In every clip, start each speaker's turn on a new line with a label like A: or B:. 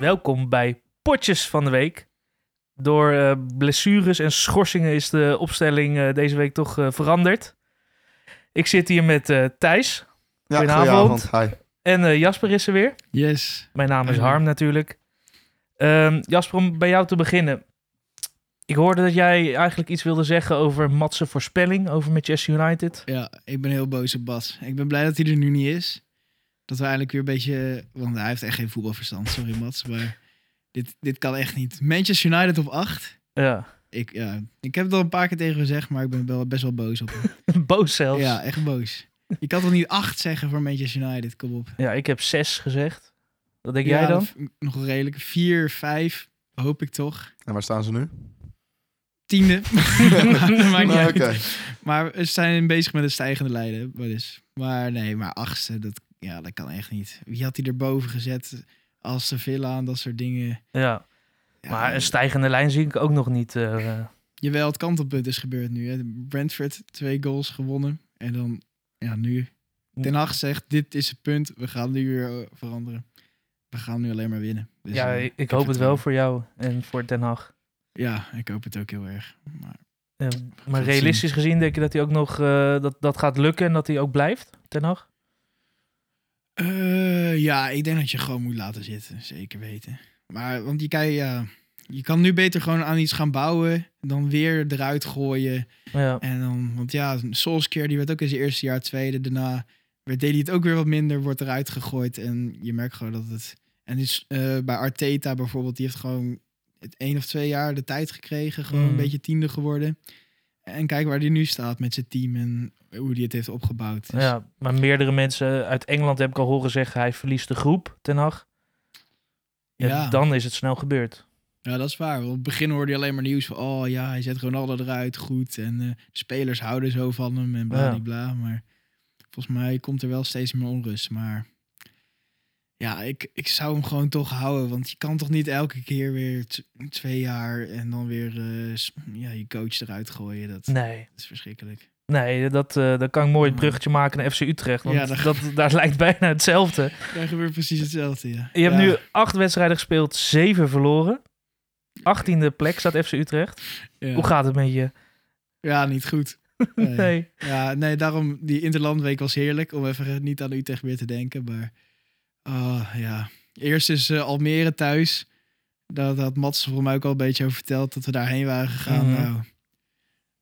A: Welkom bij Potjes van de Week. Door eh, blessures en schorsingen is de opstelling eh, deze week toch eh, veranderd. Ik zit hier met eh, Thijs
B: Ja,
A: Goedenavond.
B: Hi.
A: en eh, Jasper is er weer.
C: Yes.
A: Mijn naam is
C: Hallo.
A: Harm natuurlijk. Ehm, Jasper, om bij jou te beginnen. Ik hoorde dat jij eigenlijk iets wilde zeggen over Matse voorspelling over Manchester United.
C: Ja, ik ben heel boos op Bas. Ik ben blij dat hij er nu niet is. Dat we eigenlijk weer een beetje... Want hij heeft echt geen voetbalverstand, sorry Mats. Maar dit, dit kan echt niet. Manchester United op 8.
A: Ja,
C: Ik, ja, ik heb het al een paar keer tegen hem gezegd, maar ik ben wel, best wel boos op hem.
A: boos zelfs.
C: Ja,
A: Ja.
C: echt boos. Je kan toch niet 8 zeggen voor Manchester United? Kom op.
A: ik heb zes gezegd. Wat denk jij
C: Ja,
A: dan?
C: v- Nog een redelijke 4, 5. Hoop ik toch.
B: En waar staan ze nu?
C: Tiende. maar, dat maakt niet
B: Nou,
C: uit.
B: oké.
C: Maar we zijn bezig met een stijgende lijnen. Maar, dus. maar nee, maar achtste, dat, ja, dat kan echt niet. Wie had die erboven gezet? Als Sevilla en dat soort dingen.
A: Ja.
C: Ja,
A: Maar een stijgende lijn zie ik ook nog niet. eh, eh.
C: Jawel, het kantelpunt is gebeurd nu. Hè. Brentford, twee goals gewonnen. En dan, ja, nu. Ten Hag zegt, dit is het punt. We gaan nu weer eh, veranderen. We gaan nu alleen maar winnen. Dus,
A: ja,
C: eh,
A: ik, ik
C: heb
A: hoop het wel
C: vertrouwen.
A: voor jou en voor Den Haag.
C: Ja, ik hoop het ook heel erg. Maar
A: Eh, maar
C: zien.
A: realistisch gezien denk je dat hij ook nog eh, dat, dat gaat lukken en dat hij ook blijft, Ten Hag?
C: Eh, ja, ik denk dat je gewoon moet laten zitten. Zeker weten. Maar, want je kan, ja, je kan nu beter gewoon aan iets gaan bouwen. Dan weer eruit gooien.
A: Ja.
C: En dan, want ja, Solskjaer die werd ook in zijn eerste jaar tweede. Daarna werd, deed hij het ook weer wat minder. Wordt eruit gegooid. En je merkt gewoon dat het... En dus, eh, bij Arteta bijvoorbeeld, die heeft gewoon het één of twee jaar de tijd gekregen. Gewoon
A: Mm.
C: een beetje tiende geworden. En kijk waar hij nu staat met zijn team en hoe hij het heeft opgebouwd. Dus-
A: Ja, maar meerdere mensen uit Engeland heb ik al horen zeggen... hij verliest de groep, Ten Hag. Ja,
C: Ja.
A: Dan is het snel gebeurd.
C: Ja, dat is waar. Want op het begin hoorde je alleen maar nieuws van... oh ja, hij zet Ronaldo eruit, goed. En eh, de spelers houden zo van hem en bla,
A: Ja.
C: bla. Maar volgens mij komt er wel steeds meer onrust. Maar ja, ik, ik zou hem gewoon toch houden. Want je kan toch niet elke keer weer t- twee jaar... en dan weer eh, s- ja, je coach eruit gooien. Dat,
A: Nee,
C: is verschrikkelijk.
A: nee dat, eh dan kan ik mooi het bruggetje maken naar FC Utrecht. Want
C: Ja, daar-
A: dat, daar lijkt bijna hetzelfde.
C: Daar gebeurt precies hetzelfde, ja.
A: Je hebt
C: Ja.
A: nu acht wedstrijden gespeeld, zeven verloren. Achttiende plek staat FC Utrecht. Hoe
C: Ja,
A: gaat het met je?
C: ja niet goed.
A: Nee.
C: Ja, nee, daarom die Interlandweek was heerlijk om even niet aan Utrecht meer te denken. Maar ah, ja, eerst is eh, Almere thuis. Daar daar had Mats voor mij ook al een beetje over verteld dat we daarheen waren gegaan.
A: Mhm.
C: Nou,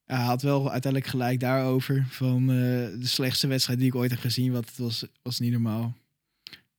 C: hij had wel uiteindelijk gelijk daarover van eh, de slechtste wedstrijd die ik ooit heb gezien. Want het was, was niet normaal.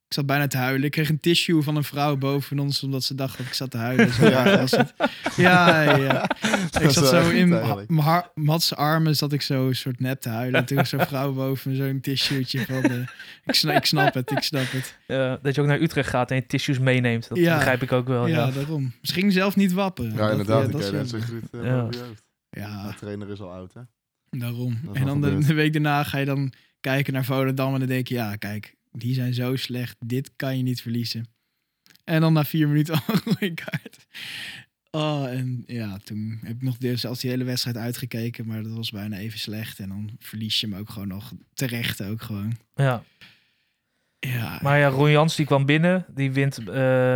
C: Ik zat bijna te huilen. Ik kreeg een tissue van een vrouw boven ons omdat ze dacht dat ik zat te huilen. Zo
B: Ja.
C: erg was het. ja, ja. Ik
B: Dat
C: zat
B: is eh, wel
C: zo
B: echt
C: in
B: eigenlijk.
C: mijn har- Mats' armen, zat ik zo een soort nep te huilen. En Toen was zo'n vrouw boven me, zo'n t-shirtje van... eh, ik, snap, ik snap het, ik snap het.
A: Eh, dat je ook naar Utrecht gaat en je tissues meeneemt. Dat
C: Ja.
A: begrijp ik ook wel. Ja.
C: ja, daarom. Ze ging zelf niet wapperen.
B: Oh, Ja, inderdaad. ik
C: dat is
B: ken dat
C: jammer.
B: zo goed. eh,
A: Ja.
B: boven je hoofd.
C: Ja,
B: De trainer is al oud, hè?
C: daarom.
B: Dat is wel
C: en dan de,
B: gebeurd.
C: de week daarna ga je dan kijken naar Volendam en dan denk je... Ja, kijk, die zijn zo slecht. Dit kan je niet verliezen. En dan na vier minuten al een rode kaart. Oh, en ja, toen heb ik nog de- zelfs die hele wedstrijd uitgekeken. Maar dat was bijna even slecht. En dan verlies je hem ook gewoon nog terecht ook gewoon.
A: Ja.
C: Ja,
A: Maar ja, Ron Jans die kwam binnen. Die wint eh,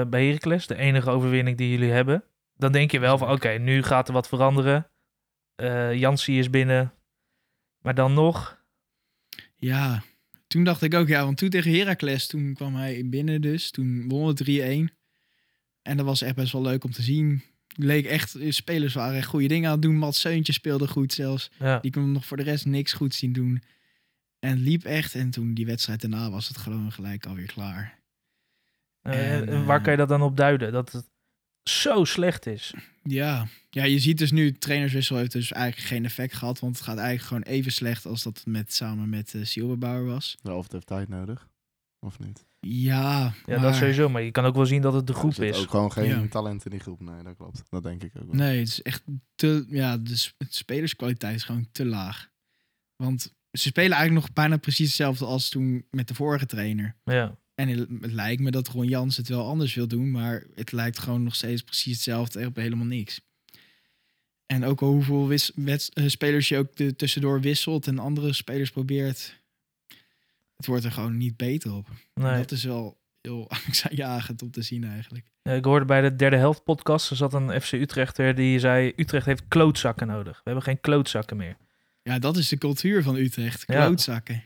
A: bij Heracles. De enige overwinning die jullie hebben. Dan denk je wel van, oké, nu gaat er wat veranderen. Eh Jansie is binnen. Maar dan nog...
C: ja, toen dacht ik ook, ja, want toen tegen Heracles, toen kwam hij binnen dus. Toen won het 3-1. En dat was echt best wel leuk om te zien. Leek echt, eh, spelers waren echt goede dingen aan het doen. Mats Seuntje speelde goed zelfs.
A: Ja.
C: Die kon nog voor de rest niks goed zien doen. En liep echt. En toen die wedstrijd daarna was het gewoon gelijk alweer klaar.
A: Eh,
C: En,
A: en waar
C: eh,
A: kan je dat dan op duiden? Dat het zo slecht is.
C: Ja, ja je ziet dus nu, trainerswissel heeft dus eigenlijk geen effect gehad. Want het gaat eigenlijk gewoon even slecht als dat met, samen met eh Silberbauer was.
B: Ja, of het heeft tijd nodig. Of niet?
C: Ja,
A: Ja,
C: maar-
A: dat sowieso. Maar je kan ook wel zien dat het de
B: Er
A: groep
B: zit
A: is.
B: ook gewoon geen
C: Ja.
B: talent in die groep. Nee, dat klopt. Dat denk ik ook wel.
C: Nee, het is echt te. Ja, de s- de spelerskwaliteit is gewoon te laag. Want ze spelen eigenlijk nog bijna precies hetzelfde als toen met de vorige trainer.
A: Ja.
C: En het, het lijkt me dat Ron Jans het wel anders wil doen, maar het lijkt gewoon nog steeds precies hetzelfde op helemaal niks. En ook al hoeveel wis, wets- eh, spelers je ook de, tussendoor wisselt en andere spelers probeert, het wordt er gewoon niet beter op.
A: Nee.
C: Dat is wel veel angst jagen om te zien eigenlijk.
A: Eh, Ik hoorde bij de derde helft podcast, er zat een FC Utrechter die zei... Utrecht heeft klootzakken nodig. We hebben geen klootzakken meer.
C: Ja, dat is de cultuur van Utrecht.
A: Ja.
C: Klootzakken.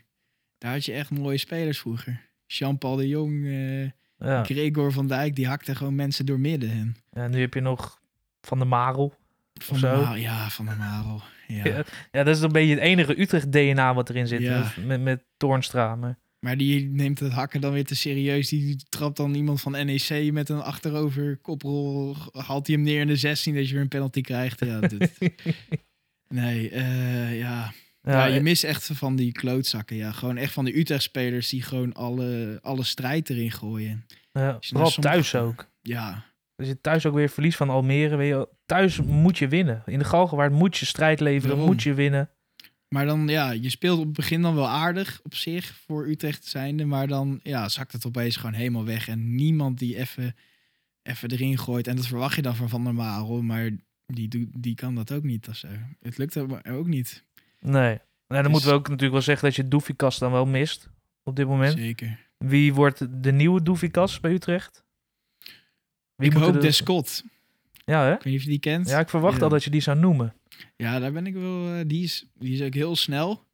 C: Daar had je echt mooie spelers vroeger. Jean-Paul de Jong, eh,
A: Ja.
C: Gregor van Dijk, die hakte gewoon mensen door midden. En
A: En nu heb je nog Van der Marel.
C: van
A: Of
C: der
A: zo.
C: Ma- ja, van der Marel. Ja.
A: Ja. Ja, dat is een beetje het enige Utrecht-DNA wat erin zit.
C: Ja.
A: Met- Met, met Toornstra. maar-
C: Maar die neemt het hakken dan weer te serieus. Die trapt dan iemand van NEC met een achterover koprol. Haalt hij hem neer in de 16 dat je weer een penalty krijgt. Ja, dit- nee, eh, ja. Ja,
A: eh,
C: je mist echt van die klootzakken. Ja. Gewoon echt van die Utrecht-spelers die gewoon alle, alle strijd erin gooien.
A: Ja, eh,
C: Is
A: vooral
C: naar sommige-
A: thuis ook.
C: Ja,
A: Er zit thuis ook weer verlies van Almere. Weet je, wel. thuis moet je winnen. In de Galgenwaard moet je strijd leveren,
C: Daarom.
A: moet je winnen.
C: maar dan, ja, je speelt op het begin dan wel aardig op zich voor Utrecht zijnde. Maar dan, ja, zakt het opeens gewoon helemaal weg. En niemand die even, even erin gooit. En dat verwacht je dan van Van der Marel, maar die, doet- die kan dat ook niet of zo. Het lukt hem ook niet,
A: Nee. Nou, dan
C: is-
A: moeten we ook natuurlijk wel zeggen dat je Doefikas dan wel mist op dit moment.
C: zeker.
A: Wie wordt de nieuwe Doefikas bij Utrecht? Wie
C: Ik
A: moet
C: hoop
A: er-
C: Descott.
A: Ja, hè?
C: Ik weet niet of je die kent.
A: Ja, ik verwacht
C: Ja.
A: al dat je die zou noemen.
C: Ja, daar ben ik wel. eh, die, is, die is ook heel snel.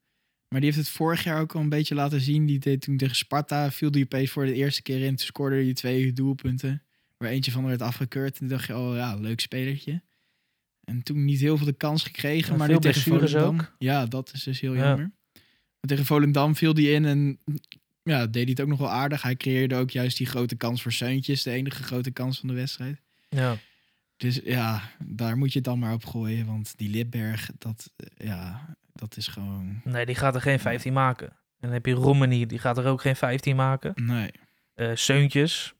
C: Maar die heeft het vorig jaar ook al een beetje laten zien. Die deed toen tegen Sparta. Viel die opeens voor de eerste keer in. Toen scoorde hij twee doelpunten. Waar eentje van werd afgekeurd. En toen dacht je, oh ja, leuk spelertje. En toen niet heel veel de kans gekregen.
A: Ja,
C: maar
A: veel
C: nu tegen
A: blessures
C: Volendam.
A: ook.
C: Ja, dat is dus heel
A: Ja.
C: jammer. Maar tegen Volendam viel die in. En ja, deed hij het ook nog wel aardig. Hij creëerde ook juist die grote kans voor Seuntjes. De enige grote kans van de wedstrijd.
A: Ja.
C: Dus ja, daar moet je het dan maar op gooien. Want die Lidberg, dat, eh, ja, dat is gewoon...
A: Nee, die gaat er geen 15 maken. En dan heb je Romani, die gaat er ook geen 15 maken.
C: Nee,
A: Eh Seuntjes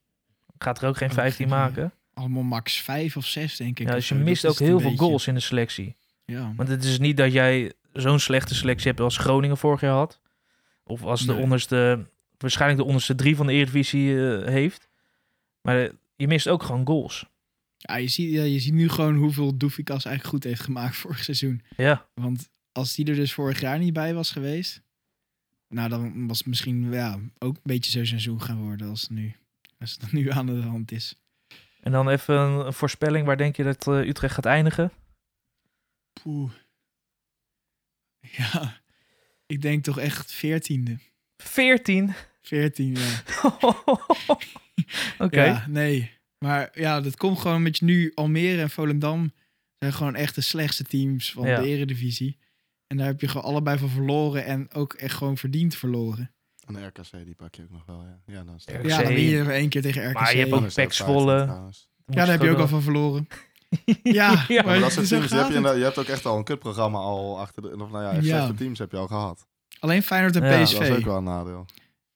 A: gaat er ook geen
C: Ook
A: 15
C: geen-
A: maken.
C: allemaal max vijf of zes, denk Oh, ik.
A: Ja,
C: of
A: dus je
C: zo. Dat
A: mist
C: is
A: ook
C: het
A: heel
C: een
A: veel
C: beetje.
A: goals in de selectie.
C: Ja,
A: Want het is niet dat jij zo'n slechte selectie hebt als Groningen vorig jaar had. Of als de
C: Nee.
A: onderste, waarschijnlijk de onderste drie van de Eredivisie eh, heeft. Maar eh, je mist ook gewoon goals.
C: ja, je, ziet, ja je ziet nu gewoon hoeveel Doefikas eigenlijk goed heeft gemaakt vorig seizoen.
A: Ja,
C: Want als die er dus vorig jaar niet bij was geweest... Nou, dan was het misschien ja, ook een beetje zo'n seizoen gaan worden als het nu, als het nu aan de hand is.
A: en dan even een, een voorspelling. Waar denk je dat eh, Utrecht gaat eindigen?
C: Poeh. Ja, ik denk toch echt veertiende.
A: 14.
C: 14, ja.
A: Oké.
C: Ja, nee. Maar ja, dat komt gewoon met je nu. Almere en Volendam zijn gewoon echt de slechtste teams van
A: Ja.
C: de eredivisie. En daar heb je gewoon allebei van verloren en ook echt gewoon verdiend verloren.
B: En de RKC, die pak je ook nog wel, ja. Ja, dan is het-
A: RKC.
C: Ja, dan win je er één keer tegen RKC.
A: Maar je hebt
B: Dan
A: ook
B: is
A: Pek
B: het ook 15
A: Zwolle.
B: trouwens.
A: Dan
C: ja, daar heb je ook al
A: moet
C: van verloren. ja,
A: Ja,
B: Ja, maar dat
C: het
B: soort
C: is zo
B: teams heb je,
C: gaat het.
B: inderdaad- je hebt ook echt al een kutprogramma al achter de... Of nou ja, echt
C: Ja.
B: slechte teams heb je al gehad.
C: Alleen Feyenoord en
A: Ja,
C: PSV.
B: Dat is ook wel een nadeel.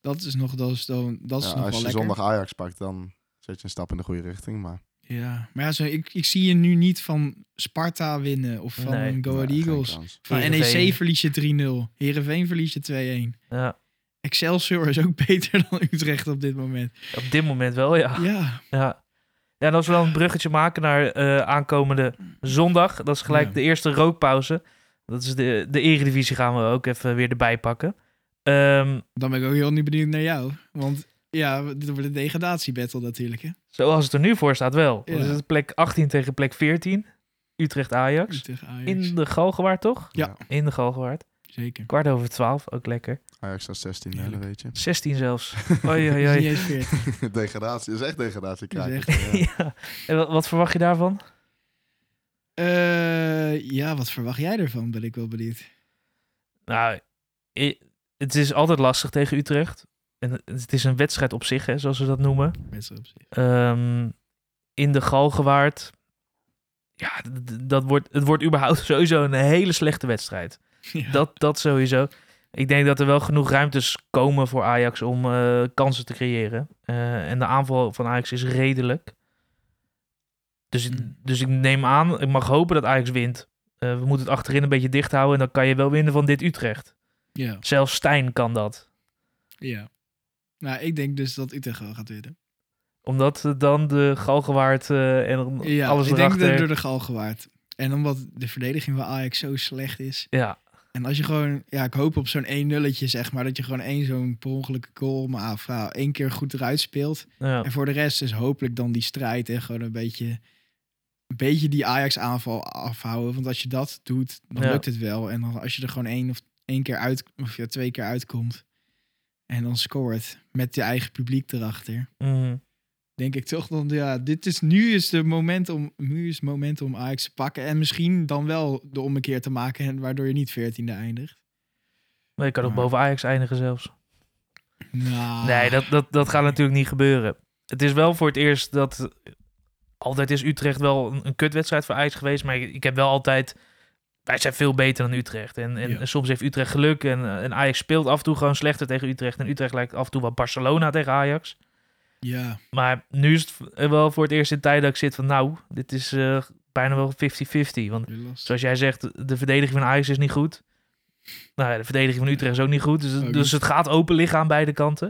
C: Dat is nog, dat is dan, dat is
B: Ja,
C: nog
B: als
C: wel
B: je
C: lekker.
B: zondag Ajax pakt, dan zet je een stap in de goede richting. Maar
C: Ja, maar ja, zo, ik, ik zie je nu niet van Sparta winnen of van
A: Nee.
C: Go Ahead
B: Nee, geen
C: Eagles.
B: kans.
C: Van
A: Heerenveen.
C: NEC verlies je 3-0. Heerenveen verlies je 2-1.
A: Ja,
C: Excelsior is ook beter dan Utrecht op dit moment.
A: op dit moment wel, ja.
C: Ja,
A: Ja. ja, en als we dan een bruggetje maken naar eh, aankomende zondag, dat is gelijk
C: Ja.
A: de eerste rookpauze. Dat is de, de Eredivisie gaan we ook even weer erbij pakken. Ehm,
C: dan ben ik ook heel nu benieuwd naar jou. Want ja, dit wordt een degradatiebattle natuurlijk. Hè?
A: zoals het er nu voor staat wel.
C: Ja.
A: Dus het is plek 18 tegen plek 14. Utrecht-Ajax.
C: Tegen Ajax.
A: In de Galgenwaard, toch?
C: Ja.
A: In de Galgenwaard.
C: Zeker.
A: Kwart over twaalf, ook lekker.
B: Ajax staat 16, hè, dat
C: Heerlijk.
B: weet je.
A: 16 zelfs. Oei, oei,
C: Dat is
A: oei.
C: niet eens veertig.
B: degradatie, dat is echt degradatie
C: Dat is
B: krijgen. Ja.
A: Ja. En wa- wat verwacht je daarvan?
C: Eh, ja, wat verwacht jij ervan? Ben ik wel benieuwd.
A: Nou, i- het is altijd lastig tegen Utrecht. En het- het is een wedstrijd op zich, hè, zoals ze dat noemen.
C: Mensen op zich.
A: Ehm, in de gal gewaard. Ja, d- d- dat wordt, het wordt überhaupt sowieso een hele slechte wedstrijd.
C: Ja.
A: Dat, dat sowieso. Ik denk dat er wel genoeg ruimtes komen voor Ajax om eh, kansen te creëren. Eh, en de aanval van Ajax is redelijk. Dus, ik-
C: Mm.
A: dus ik neem aan, ik mag hopen dat Ajax wint. Eh, we moeten het achterin een beetje dicht houden. En dan kan je wel winnen van dit Utrecht.
C: ja.
A: Zelfs Stijn kan dat.
C: ja. Nou, ik denk dus dat Utrecht wel gaat winnen.
A: Omdat eh, dan de Galgenwaard eh en dan
C: Ja,
A: alles
C: ik
A: erachter...
C: denk dat door de gal gewaard. En omdat de verdediging van Ajax zo slecht is,
A: Ja,
C: En als je gewoon, ja, ik hoop op zo'n 1 nulletje zeg maar, dat je gewoon één zo'n per ongeluk goal, maar ah, vrouw, één keer goed eruit speelt.
A: Ja.
C: En voor de rest is hopelijk dan die strijd en gewoon een beetje, een beetje die Ajax aanval afhouden. Want als je dat doet, dan
A: Ja.
C: lukt het wel. En dan, als je er gewoon één of één keer uit, of ja, twee keer uitkomt en dan scoort met je eigen publiek erachter,
A: Mhm.
C: denk ik toch dan, ja, dit is nu is de moment om, nu is het moment om Ajax te pakken. En misschien dan wel de ommekeer te maken, en waardoor je niet veertiende eindigt.
A: Maar je kan ook
C: Maar-
A: boven Ajax eindigen zelfs.
C: Nou,
A: Nee, dat, dat, dat gaat natuurlijk niet gebeuren. Het is wel voor het eerst dat... Altijd is Utrecht wel een, een kutwedstrijd voor Ajax geweest. Maar ik, ik heb wel altijd... Wij zijn veel beter dan Utrecht. En, en
C: Ja.
A: soms heeft Utrecht geluk. En, eh, en Ajax speelt af en toe gewoon slechter tegen Utrecht. En Utrecht lijkt af en toe wel Barcelona tegen Ajax.
C: Ja,
A: Maar nu is het v- eh, wel voor het eerst in tijd dat ik zit van... Nou, dit is eh, bijna wel 50-50. Want
C: weer lastig.
A: zoals jij zegt, de verdediging van Ajax is niet goed. Nou ja, de verdediging van Utrecht is ook niet goed. Dus,
C: Ook
A: dus
C: niet.
A: het gaat open liggen aan beide kanten.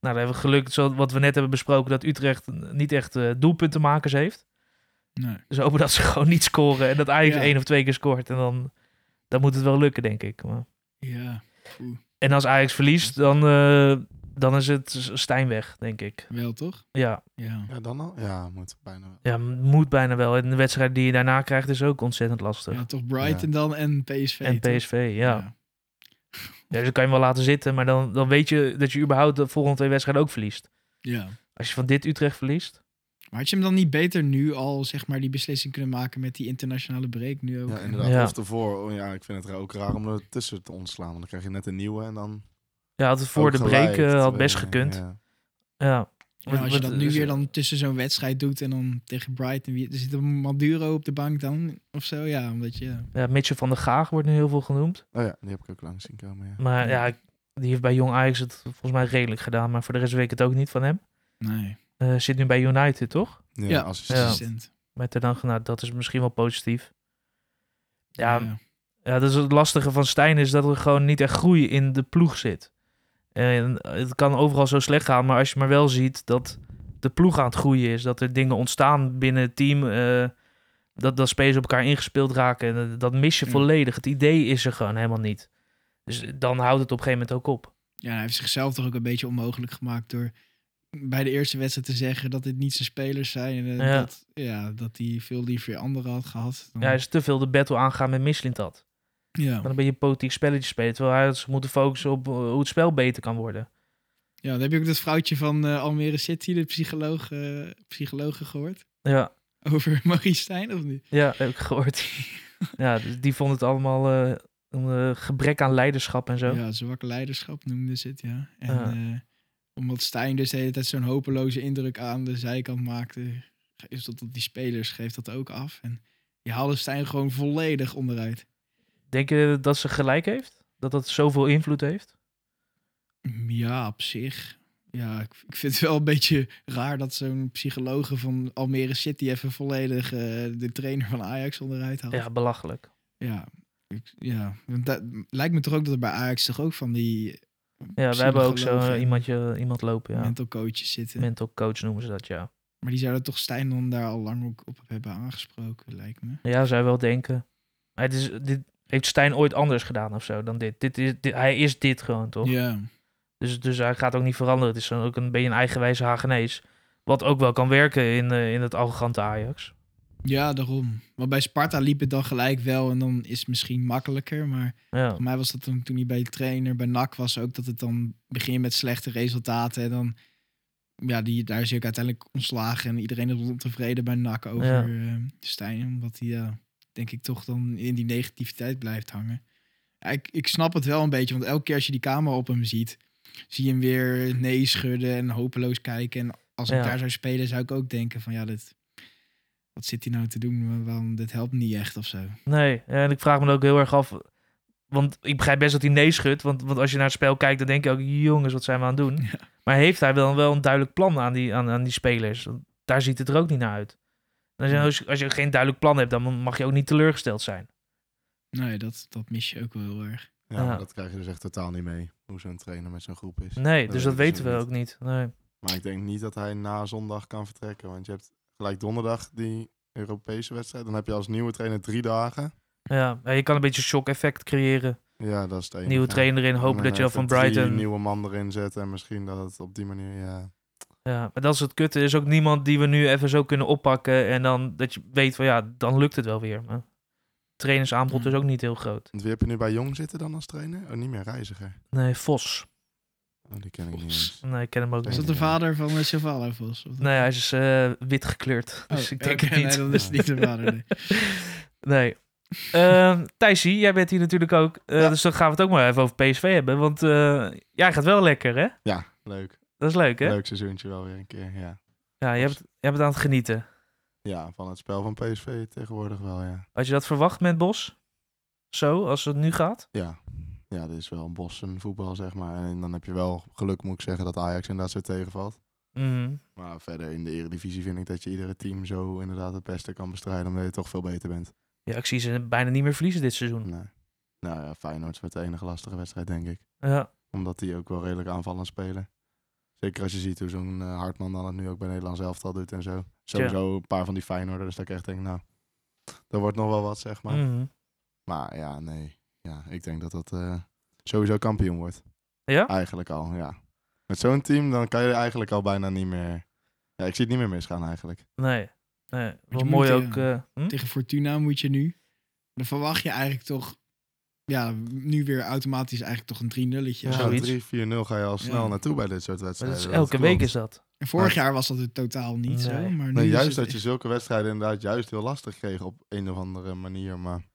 A: Nou, dan hebben we geluk, zo- wat we net hebben besproken, dat Utrecht niet echt eh, doelpuntenmakers heeft.
C: Nee.
A: Dus hopen dat ze gewoon niet scoren en dat Ajax
C: Ja.
A: één of twee keer scoort. En dan, dan moet het wel lukken, denk ik. Maar-
C: Ja,
A: En als Ajax verliest, dan, eh, dan is het S- Stijn weg, denk ik.
C: wel toch?
A: Ja.
C: Ja.
B: Ja, dan al? Ja, moet bijna wel.
A: ja, moet bijna wel. En de wedstrijd die je daarna krijgt is ook ontzettend lastig.
C: ja, toch Brighton dan en PSV.
A: en
C: toch?
A: PSV, ja. Ja, dus dan kan je hem wel laten zitten, maar dan, dan weet je dat je überhaupt de volgende twee wedstrijden ook verliest.
C: Ja.
A: Als je van dit Utrecht verliest.
C: Maar had je hem dan niet beter nu al, zeg maar, die beslissing kunnen maken met die internationale break nu ook?
B: Ja, inderdaad.
A: Ja.
B: Of ervoor. Oh, ja, ik vind het ook raar om er tussen te ontslaan. Want dan krijg je net een nieuwe en dan...
A: Ja, had het voor
B: ook
A: de break
B: gelijk,
A: eh, had
B: eh,
A: best gekund. Ja.
B: ja.
C: Ja, als je
A: Want-
C: dat nu weer dan tussen zo'n wedstrijd doet en dan tegen Brighton, wie, er zit een Maduro op de bank dan of zo, ja, omdat je...
A: Ja, Mitchell van der Gaag wordt nu heel veel genoemd.
B: Oh ja, die heb ik ook lang zien komen, ja.
A: Maar ja, ik- die heeft bij Jong Ajax het volgens mij redelijk gedaan. Maar voor de rest weet ik het ook niet van hem.
C: Nee.
A: Eh, zit nu bij United, toch?
B: Ja,
C: Ja.
B: Als je
A: Ja.
C: Assistent.
A: Met de dan, nou, dat is misschien wel positief. Ja, Ja, dat is het lastige van Stijn is dat er gewoon niet echt groei in de ploeg zit. En het kan overal zo slecht gaan, maar als je maar wel ziet dat de ploeg aan het groeien is, dat er dingen ontstaan binnen het team, eh, dat, dat spelers op elkaar ingespeeld raken, en dat- dat mis je
C: Ja.
A: volledig. Het idee is er gewoon helemaal niet. Dus dan houdt het op een gegeven moment ook op.
C: Ja, hij heeft zichzelf toch ook een beetje onmogelijk gemaakt door bij de eerste wedstrijd te zeggen dat dit niet zijn spelers zijn. En eh,
A: Ja.
C: dat ja, dat hij veel liever weer anderen had gehad. Dan,
A: Ja, hij is te veel de battle aangaan met Mislintat.
C: ja.
A: Dan ben je politiek spelletjes spelen, terwijl hij had zich moeten focussen op eh, hoe het spel beter kan worden.
C: Ja, dan heb je ook dat vrouwtje van eh, Almere City, de psycholoog, eh, psychologe gehoord.
A: Ja,
C: Over Marie Stijn of niet?
A: Ja, heb ik gehoord. ja, dus die vond het allemaal eh, een eh, gebrek aan leiderschap en zo. Ja, Ah.
C: Ja, zwakke leiderschap noemde ze het, ja. En
A: Ja.
C: eh, omdat Stijn dus de hele tijd zo'n hopeloze indruk aan de zijkant maakte, is dat op die spelers geeft dat ook af. En die haalde Stijn gewoon volledig onderuit.
A: Denk je dat ze gelijk heeft? Dat dat zoveel invloed heeft?
C: Ja, op zich. Ja, ik, ik vind het wel een beetje raar dat zo'n psychologe van Almere City even volledig eh, de trainer van Ajax onderuit haalt.
A: Ja, belachelijk.
C: Ja, ik- ja. Want dat lijkt me toch ook dat er bij Ajax toch ook van die
A: Ja, we hebben ook zo
C: Psycholoog,
A: eh,
C: ja.
A: iemandje, iemand lopen, ja.
C: mental coaches zitten.
A: Mental coach noemen ze dat, ja.
C: maar die zouden toch Stijn dan daar al lang ook op hebben aangesproken, lijkt me.
A: Ja, zou je wel denken. Maar het is, dit, heeft Stijn ooit anders gedaan of zo dan dit? dit, is, dit hij is dit gewoon, toch?
C: Ja,
A: Dus, dus hij gaat ook niet veranderen. Het is dan ook een beetje een eigenwijze Hagenees. Wat ook wel kan werken in, eh, in het arrogante Ajax.
C: ja, daarom. Want bij Sparta liep het dan gelijk wel en dan is het misschien makkelijker. Maar
A: Ja,
C: voor mij was dat toen, toen hij bij de trainer, bij NAC was ook dat het dan begin je met slechte resultaten. En dan, ja, die, daar is hij ook uiteindelijk ontslagen. En iedereen is ontevreden bij NAC over
A: Ja.
C: eh, Stijn. Omdat hij, ja, denk ik, toch dan in die negativiteit blijft hangen. Ja, ik, ik snap het wel een beetje, want elke keer als je die camera op hem ziet, zie je hem weer nee schudden en hopeloos kijken. En als ik
A: Ja.
C: daar zou spelen, zou ik ook denken van, ja, dit, wat zit hij nou te doen? Want dit helpt niet echt of zo.
A: Nee, en ik vraag me dan ook heel erg af. Want ik begrijp best dat hij nee schudt. Want, want als je naar het spel kijkt, dan denk je ook... jongens, wat zijn we aan het doen?
C: Ja.
A: Maar heeft hij wel, wel een duidelijk plan aan die, aan, aan die spelers? Want daar ziet het er ook niet naar uit. Als je, als, je- als je geen duidelijk plan hebt, dan mag je ook niet teleurgesteld zijn.
C: Nee, dat, dat mis je ook wel heel erg.
B: Ja,
A: Ja.
B: maar dat krijg je dus echt totaal niet mee. Hoe zo'n trainer met zo'n groep is.
A: Nee, dus
B: Nee,
A: dat
B: dat is
A: weten we
B: ook
A: ook niet. Nee.
B: Maar ik denk niet dat hij na zondag kan vertrekken. Want je hebt gelijk donderdag die Europese wedstrijd. Dan heb je als nieuwe trainer drie dagen.
A: Ja, ja, je kan een beetje shock-effect creëren.
B: Ja, dat is het enige.
A: Nieuwe trainer in, hopen
B: Dan
A: dat je
B: even
A: van
B: drie
A: Brighton...
B: nieuwe man erin zet en misschien dat het op die manier... Ja,
A: Ja, maar dat is het kutte. Er is ook niemand die we nu even zo kunnen oppakken. En dan dat je weet van ja, dan lukt het wel weer. Maar trainersaanbod
C: Ja.
A: is ook niet heel groot.
B: Want wie heb je nu bij Jong zitten dan als trainer? Oh, niet meer Reiziger.
A: Nee, Vos.
B: Oh, die ken ik niet
C: Ops.
B: eens.
A: Nee, ik ken hem ook
C: Is
A: niet.
C: dat de vader van uh, Silvalo Vos? Of-
A: Nee, hij is eh, wit gekleurd. Dus
C: Oh,
A: ik denk
C: oké,
A: het niet.
C: Nee, dat is het niet de vader. nee.
A: Nee. Ehm Thijsie, jij bent hier natuurlijk ook. Eh,
B: Ja.
A: Dus dan gaan we het ook maar even over PSV hebben. Want eh, jij gaat wel lekker, hè?
B: Ja, leuk.
A: Dat is leuk, hè?
B: Leuk seizoentje wel weer een keer, ja.
A: Ja, jij bent, jij bent aan het genieten.
B: Ja, van het spel van PSV tegenwoordig wel, ja.
A: Had je dat verwacht met Bos? Zo, als het nu gaat?
B: Ja, ja dit is wel een bossen voetbal, zeg maar. En dan heb je wel geluk, moet ik zeggen, dat Ajax inderdaad zo tegenvalt.
A: Mhm.
B: Maar verder in de eredivisie vind ik dat je iedere team zo inderdaad het beste kan bestrijden, omdat je toch veel beter bent.
A: Ja, ik zie ze bijna niet meer verliezen dit seizoen.
B: Nee. Nou ja, Feyenoord wordt de enige lastige wedstrijd, denk ik.
A: Ja.
B: Omdat die ook wel redelijk aanvallend spelen. Zeker als je ziet hoe zo'n eh, Hartman dan het nu ook bij Nederland zelf al doet en zo. Sowieso een paar van die Feyenoorders dat ik echt denk, nou, er wordt nog wel wat, zeg maar.
A: Mhm.
B: Maar ja, nee. Ja, ik denk dat dat eh, sowieso kampioen wordt.
A: Ja?
B: Eigenlijk al, ja. Met zo'n team, dan kan je eigenlijk al bijna niet meer... Ja, ik zie het niet meer misgaan eigenlijk.
A: Nee. nee. Wel
C: moet,
A: mooi
C: eh,
A: ook. eh, hm?
C: Tegen Fortuna moet je nu. Dan verwacht je eigenlijk toch... Ja, nu weer automatisch eigenlijk toch een 3 nulletje.
A: Ja. zoiets.
B: 3-4-0 ga je al snel
C: Ja.
B: naartoe bij dit soort
A: Maar
B: wedstrijden.
A: dat is,
B: dat
A: elke
B: klopt.
A: week is dat.
C: En vorig
B: Maar-
C: jaar was dat het totaal niet zo.
A: Nee.
C: Maar nu
B: Nee,
C: is
B: juist
C: het
B: dat je
C: echt-
B: zulke wedstrijden inderdaad juist heel lastig kreeg op een of andere manier. Maar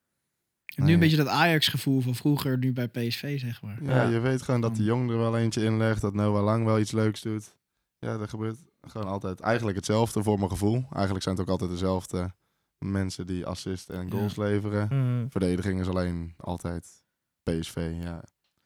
C: Nu
B: Nee.
C: een beetje dat Ajax-gevoel van vroeger, nu bij PSV, zeg maar.
B: ja,
A: Ja.
B: je weet gewoon dat de Jong er wel eentje inlegt. Dat Noah Lang wel iets leuks doet. Ja, er gebeurt gewoon altijd eigenlijk hetzelfde voor mijn gevoel. Eigenlijk zijn het ook altijd dezelfde mensen die assist en goals leveren.
A: Mhm.
B: Verdediging is alleen altijd PSV. Ja.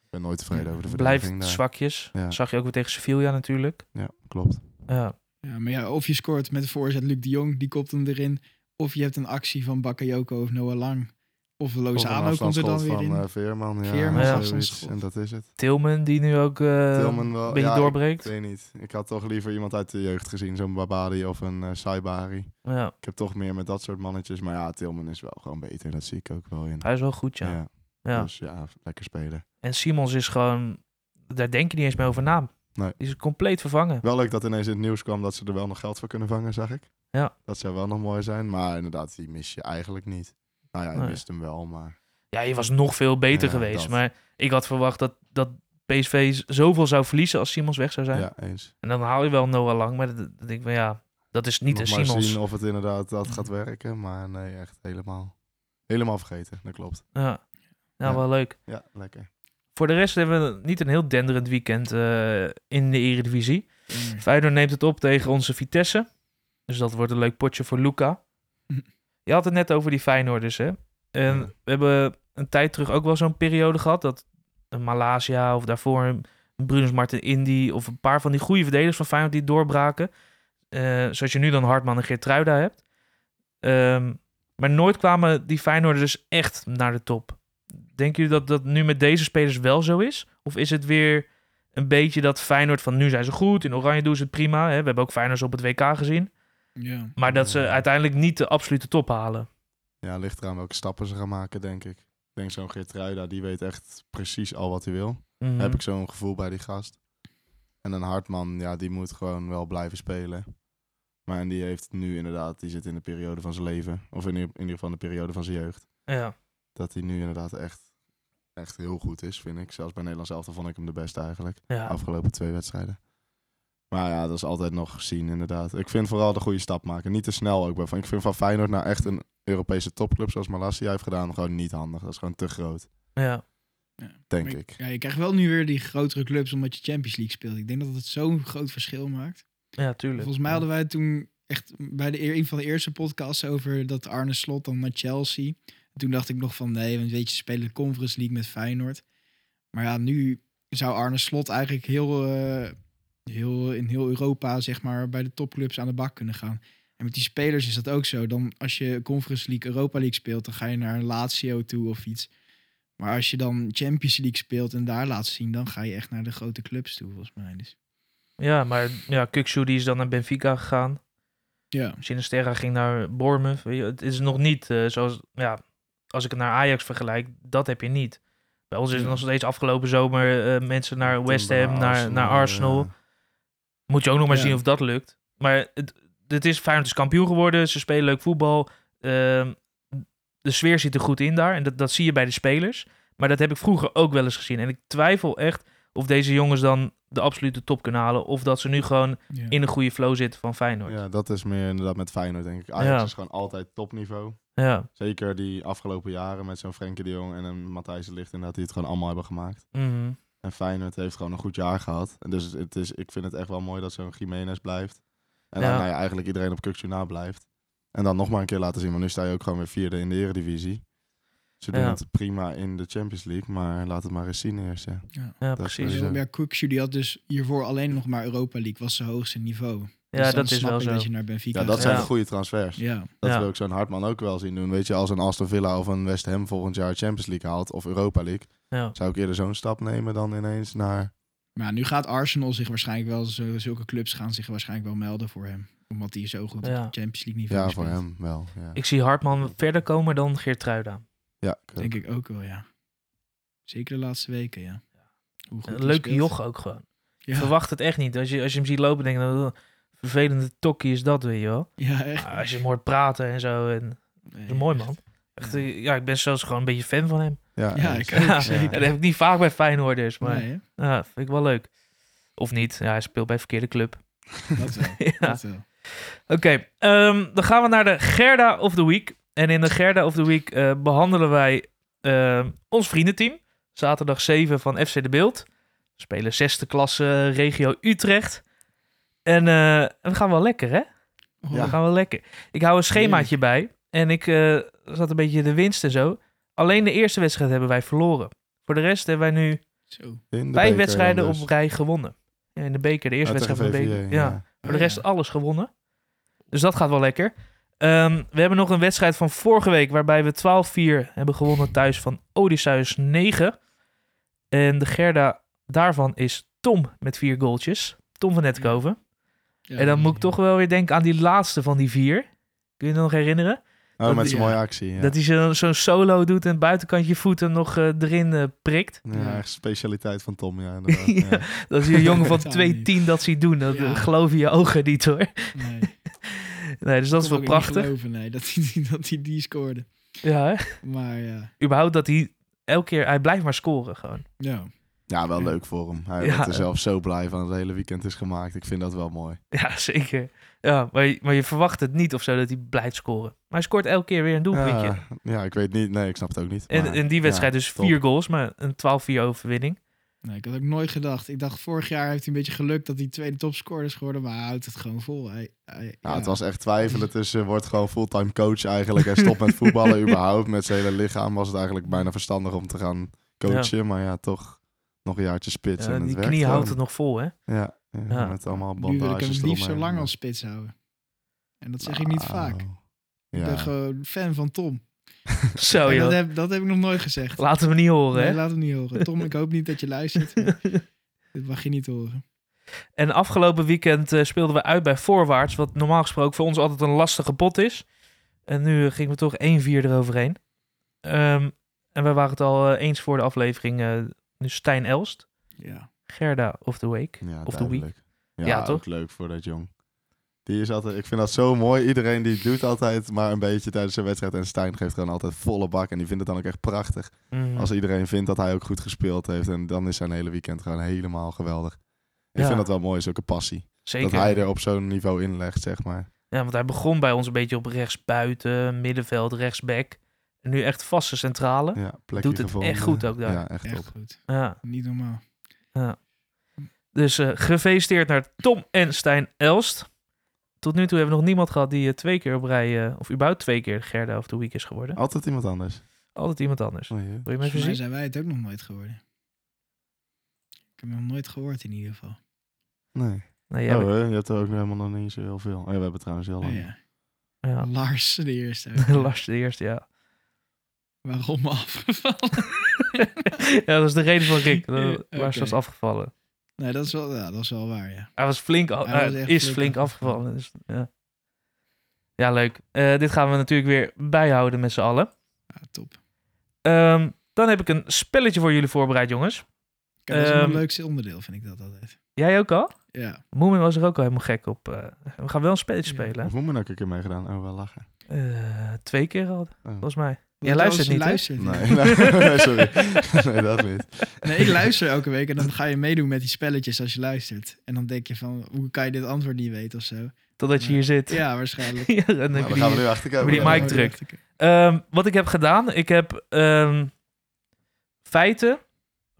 B: Ik ben nooit tevreden over de verdediging.
A: Blijft
B: daar.
A: zwakjes.
B: Ja.
A: Zag je ook weer tegen Sevilla natuurlijk.
B: Ja, klopt.
C: Eh,
A: Ja.
C: Ja, maar ja, of je scoort met de voorzet Luc de Jong, die kopt hem erin. Of je hebt een actie van Bakayoko of Noah Lang. Of
B: Of een
C: Lozano komt er dan
B: afstandsschot
C: weer
B: van
C: in.
B: eh, Veerman. Ja,
C: Veerman,
B: zoiets.
C: afstandsschot.
B: En dat is het.
A: Tilman die nu ook eh,
B: Tilman wel-
A: een beetje
B: ja, ik- Ik
A: doorbreekt.
B: weet niet. Ik had toch liever iemand uit de jeugd gezien. Zo'n Babadi of een eh, Saibari.
A: Ja.
B: Ik heb toch meer met dat soort mannetjes. Maar ja, Tilman is wel gewoon beter. Dat zie ik ook wel in.
A: Hij is wel goed, ja. ja.
B: Dus ja, lekker spelen.
A: En Simons is gewoon... Daar denk je niet eens meer over na.
B: Nee.
A: Die is compleet vervangen.
B: Wel leuk dat ineens in het nieuws kwam dat ze er wel nog geld voor kunnen vangen, zag ik.
A: Ja.
B: Dat zou wel nog mooi zijn. Maar inderdaad, die mis je eigenlijk niet. Nou ja, je
A: Nee.
B: mist hem wel, maar...
A: Ja, je was nog veel beter
B: Ja,
A: geweest.
B: dat.
A: Maar ik had verwacht dat, dat PSV z- zoveel zou verliezen als Simons weg zou zijn.
B: Ja, eens.
A: En dan haal je wel Noah Lang. Maar dat, dat denk ik van ja, dat is niet
B: nog
A: een
B: maar
A: Simons.
B: zien of het inderdaad dat gaat werken. Maar nee, echt helemaal... Helemaal vergeten, dat klopt.
A: Ja. Nou,
B: Ja.
A: wel leuk.
B: Ja, lekker.
A: Voor de rest hebben we niet een heel denderend weekend eh, in de Eredivisie.
B: eh,
A: Feyenoord neemt het op tegen onze Vitesse. Dus dat wordt een leuk potje voor Luca.
C: Hm.
A: Je had het net over die Feyenoorders, hè? En
B: Ja.
A: we hebben een tijd terug ook wel zo'n periode gehad... dat een Malaysia of daarvoor een Brunos Martin Indy... of een paar van die goede verdedigers van Feyenoord die doorbraken. Eh, zoals je nu dan Hartman en Geertruida hebt. Ehm, maar nooit kwamen die Feyenoorders echt naar de top. Denken jullie dat dat nu met deze spelers wel zo is? Of is het weer een beetje dat Feyenoord van nu zijn ze goed, in Oranje doen ze het prima. Hè? We hebben ook Feyenoord op het WK gezien.
C: Ja.
A: Maar dat
B: Mm.
A: ze uiteindelijk niet de absolute top halen.
B: Ja, ligt eraan welke stappen ze gaan maken, denk ik. Ik denk zo'n Geertruida, die weet echt precies al wat hij wil.
A: Mhm.
B: heb ik zo'n gevoel bij die gast. En een Hartman, ja, die moet gewoon wel blijven spelen. Maar en die heeft nu inderdaad, die zit in de periode van zijn leven. Of in, i- in ieder geval in de periode van zijn jeugd.
A: Ja.
B: Dat hij nu inderdaad echt, echt heel goed is, vind ik. Zelfs bij Nederland zelf vond ik hem de beste eigenlijk.
A: Ja.
B: Afgelopen twee wedstrijden. Maar ja, dat is altijd nog zien inderdaad. Ik vind vooral de goede stap maken. Niet te snel ook. bij Van- Ik vind van Feyenoord nou echt een Europese topclub zoals Malassia heeft gedaan gewoon niet handig. Dat is gewoon te groot,
A: ja.
B: denk
C: Maar-
B: ik.
C: Ja, je krijgt wel nu weer die grotere clubs omdat je Champions League speelt. Ik denk dat het zo'n groot verschil maakt.
A: Ja, tuurlijk.
C: Volgens mij hadden wij het toen echt bij de, eer- een van de eerste podcasts over dat Arne Slot dan naar Chelsea. Toen dacht ik nog van nee, want weet je, ze spelen de Conference League met Feyenoord. Maar ja, nu zou Arne Slot eigenlijk heel, eh, heel in heel Europa zeg maar bij de topclubs aan de bak kunnen gaan. En met die spelers is dat ook zo. Dan als je Conference League, Europa League speelt, dan ga je naar een Lazio toe of iets. Maar als je dan Champions League speelt en daar laat zien, dan ga je echt naar de grote clubs toe, volgens mij. Dus,
A: Ja, maar ja, Kuksu die is dan naar Benfica gegaan.
C: ja.
A: Sinisterra ging naar Bournemouth. Weet je, Het is nog niet eh, zoals... Ja, als ik het naar Ajax vergelijk, dat heb je niet. Bij ons is het
B: Mm.
C: Ja.
A: nog steeds afgelopen zomer eh, mensen naar West
B: Timber,
A: Ham, naar, naar Arsenal.
B: ja.
A: Moet je ook nog maar
C: Ja.
A: zien of dat lukt. Maar het, het is Feyenoord is kampioen geworden. Ze spelen leuk voetbal. Ehm, de sfeer zit er goed in daar. En dat, dat zie je bij de spelers. Maar dat heb ik vroeger ook wel eens gezien. En ik twijfel echt of deze jongens dan de absolute top kunnen halen. Of dat ze nu gewoon
C: Ja.
A: in een goede flow zitten van Feyenoord. Ja.
B: Ja, dat is meer inderdaad met Feyenoord, denk ik. Ajax
A: Ja.
B: is gewoon altijd topniveau. Zeker die afgelopen jaren met zo'n Frenkie de Jong en een Matthijs de Ligt, inderdaad, die het gewoon allemaal hebben gemaakt.
A: Mhm.
B: En Feyenoord heeft gewoon een goed jaar gehad. En dus het is, ik vind het echt wel mooi dat zo'n Jiménez blijft. En
A: Ja.
B: dan, nou ja, eigenlijk iedereen op Kuxu na blijft. En dan nog maar een keer laten zien, want nu sta je ook gewoon weer vierde in de eredivisie. Ze doen
A: Ja.
B: het prima in de Champions League, maar laat het maar eens zien eerst. Ja.
A: ja
B: Dat is
A: precies.
B: wel-
C: Robert Kuksu, die had dus hiervoor alleen nog maar Europa League, was zijn hoogste niveau.
A: Ja,
C: Dus dan
A: dat is
C: snap
A: wel
C: ik
A: zo.
C: dat je naar Benfica
B: Ja, dat
C: gaat.
B: zijn
A: Ja.
B: de goede transfers.
C: Ja,
B: Dat
A: Ja.
B: wil ik zo'n Hartman ook wel zien doen. Weet je, als een Aston Villa of een West Ham volgend jaar Champions League haalt of Europa League,
A: Ja.
B: zou ik eerder zo'n stap nemen dan ineens naar...
C: maar nu gaat Arsenal zich waarschijnlijk wel, zo- zulke clubs gaan zich waarschijnlijk wel melden voor hem. Omdat hij zo goed
A: Ja.
C: op de Champions League niveau
B: Ja,
C: speelt.
B: voor hem wel. Ja,
A: Ik zie Hartman verder komen dan Geertruida.
B: ja
C: Denk ik ook wel, ja. Zeker de laatste weken, ja. Hoe goed
A: Een
C: hij
A: leuke
C: speelt.
A: joch ook gewoon.
C: Ja,
A: Verwacht het echt niet. Als je, als je hem ziet lopen, denk je... "Oh, vervelende tokkie is dat, weet je wel.
C: ja, echt.
A: Maar Ah, Als je hem hoort praten en zo. En, dat
C: Nee,
A: is een mooi
C: echt.
A: man. Echt, eh, ja, ik ben zelfs gewoon een beetje fan van hem.
B: ja,
C: Ja,
B: ja.
C: ik
A: Ja,
C: ook, zeker.
A: dat heb ik niet vaak bij Feyenoorders, maar
C: Nee, hè?
A: ja, vind ik wel leuk. Of niet, ja, hij speelt bij een verkeerde club.
C: dat wel.
A: Ja.
C: Dat wel.
A: Oké, ehm, dan gaan we naar de Gerda of the Week. En in de Gerda of the Week eh, behandelen wij ehm, ons vriendenteam. Zaterdag 7 van FC De Beeld. We spelen zesde klasse eh, regio Utrecht. En eh, we gaan wel lekker, hè?
C: Oh,
A: We gaan wel lekker. Ik hou een schemaatje
C: Heerlijk.
A: bij. En ik eh, zat een beetje de winst en zo. Alleen de eerste wedstrijd hebben wij verloren. Voor de rest hebben wij nu
C: Zo.
B: In de
A: vijf
B: beker
A: wedstrijden
B: dan dus.
A: op rij gewonnen. Ja, in de beker, de eerste
B: Ja, tegen
A: wedstrijd van de beker.
B: VVJ,
A: ja.
B: ja.
A: Voor de
C: Oh,
A: rest
C: ja.
A: alles gewonnen. Dus dat gaat wel lekker. Ehm, we hebben nog een wedstrijd van vorige week... waarbij we 12-4 hebben gewonnen thuis van Odysseus 9. En de Gerda daarvan is Tom met vier goaltjes. Tom van Netkoven.
C: Ja,
A: en dan moet
C: ja.
A: ik
B: Ehm,
A: toch wel weer denken aan die laatste van die vier. Kun je dat nog herinneren?
B: Oh, met
C: die-
B: zijn mooie actie. Ja.
A: Dat hij zo- zo'n solo doet en het buitenkantje voeten nog eh, erin eh, prikt.
B: ja, echt specialiteit van Tom, ja, inderdaad.
A: Ja.
B: ja.
A: Dat is een jongen van
C: Totaal
A: 210 dat ziet doen. Dat
C: Ja.
A: eh, geloof je je ogen niet hoor.
C: Nee,
A: Nee, dus dat is wel
C: kon ik ook niet
A: prachtig.
C: geloven, nee, dat hij dat hij die scoorde.
A: Ja, hè?
C: Maar eh, ja,
A: Überhaupt dat hij elke keer, hij blijft maar scoren gewoon.
C: ja.
B: Ja, wel leuk voor hem. Hij
A: Ja.
B: wordt er zelf zo blij van dat het hele weekend is gemaakt. Ik vind dat wel mooi.
A: Ja, zeker. Ja, maar, je- maar je verwacht het niet of zo dat hij blijft scoren. Maar hij scoort elke keer weer een doelpuntje.
B: Ja, ja, ik weet niet. Nee, ik snap het ook niet.
A: en
B: maar-
A: in die wedstrijd
B: ja,
A: dus
B: top.
A: vier goals, maar een 12-4 overwinning.
C: Nee, ik had ook nooit gedacht. Ik dacht, vorig jaar heeft hij een beetje geluk dat hij tweede topscorer is geworden, maar hij houdt het gewoon vol. Hij, hij,
B: Nou, het was echt twijfelen tussen wordt gewoon fulltime coach eigenlijk en stop met voetballen überhaupt. Met zijn hele lichaam was het eigenlijk bijna verstandig om te gaan coachen. Maar ja, toch nog een jaartje spits
A: Ja,
B: en het
A: die
B: werkt
A: knie houdt het
B: gewoon.
A: nog vol, hè?
B: Ja, ja,
A: Ja.
B: met allemaal
C: nu wil ik hem
B: bandages
C: het liefst zo
B: eromheen.
C: lang als spits houden. En dat zeg ik niet vaak.
B: Nou,
C: Ik
B: Ja.
C: ben gewoon fan van Tom.
A: Zo
C: En dat,
A: joh,
C: heb, dat heb ik nog nooit gezegd.
A: laten we niet horen,
C: Nee,
A: hè?
C: laat hem niet horen. Tom, ik hoop niet dat je luistert. maar Dit mag je niet horen.
A: En afgelopen weekend eh, speelden we uit bij Voorwaarts, wat normaal gesproken voor ons altijd een lastige pot is. En nu eh, gingen we toch 1-4 eroverheen. Ehm, en we waren het al eh, eens voor de aflevering, eh, nu Stijn Elst,
C: Ja.
A: Gerda of the Week.
B: Ja,
A: of the Week.
B: duidelijk. Ja,
A: Ja, toch?
B: toch? leuk voor dat jong. Die is altijd, ik vind dat zo mooi. Iedereen die doet altijd maar een beetje tijdens een wedstrijd. En Stijn geeft gewoon altijd volle bak. En die vindt het dan ook echt prachtig.
A: Mhm.
B: Als iedereen vindt dat hij ook goed gespeeld heeft. En dan is zijn hele weekend gewoon helemaal geweldig. Ik
A: Ja.
B: vind dat wel mooi, zulke passie.
A: Zeker.
B: Dat hij er op zo'n niveau in legt, zeg maar.
A: Ja, want hij begon bij ons een beetje op rechtsbuiten, middenveld, rechtsback. En nu echt vaste centrale.
B: Ja, plekje
A: Doet het
B: gevonden.
A: echt goed ook daar.
B: Ja, echt,
C: Echt
B: top.
C: goed.
A: Ja.
C: Niet normaal.
A: Dus eh, gefeliciteerd naar Tom en Stijn Elst. Tot nu toe hebben we nog niemand gehad die eh, twee keer op rij, eh, of überhaupt twee keer Gerda of the Week is geworden.
B: Altijd iemand anders.
A: Altijd iemand anders.
B: Oh, jee.
A: Wil je me even
C: Volgens
A: zien?
C: mij zijn wij het ook nog nooit geworden. Ik heb hem nog nooit gehoord in ieder geval.
B: Nee.
A: Nee,
B: Ja,
A: jij bent-
B: hoor, je hebt er ook helemaal nog niet zo heel veel. Oh, ja, we hebben trouwens heel lang.
C: Oh ja.
A: ja.
C: Lars de eerste.
A: Lars de eerste, ja.
C: Waarom afgevallen?
A: ja, dat is de reden van Rick.
C: Eh,
A: Lars was
C: oké.
A: afgevallen.
C: nee, dat is wel, ja, dat is wel waar, ja.
A: Hij was flink, af-
C: Hij was
A: hij
C: echt
A: is flink,
C: flink
A: afgevallen.
C: afgevallen.
A: Dus, ja. ja, leuk. Eh, dit gaan we natuurlijk weer bijhouden met z'n allen.
C: ja top.
A: Ehm, Dan heb ik een spelletje voor jullie voorbereid, jongens.
C: Kijk, dat is wel
A: Ehm,
C: een leukste onderdeel, vind ik dat altijd.
A: Jij ook al?
C: Ja.
A: Moemin was er ook al helemaal gek op. eh, we gaan wel een spelletje
C: Ja.
A: spelen.
B: Of moet men ook een keer meegedaan? Oh, wel lachen.
A: Eh, twee keer al,
B: Oh.
A: volgens mij.
C: Want
A: luistert
C: als-
A: niet, hè?
C: luistert niet.
B: Nee, nee, sorry. Nee, dat niet.
C: Nee, ik luister elke week en dan ga je meedoen met die spelletjes als je luistert. En dan denk je van, hoe kan je dit antwoord niet weten of zo?
A: Totdat je hier zit.
C: Ja, waarschijnlijk. Oh,
A: Ja, dan heb
B: Nou,
A: je
B: dan
A: die-
B: gaan we nu achterkomen.
A: die
B: Ja.
A: mic druk. Ehm, wat ik heb gedaan, ik heb ehm, feiten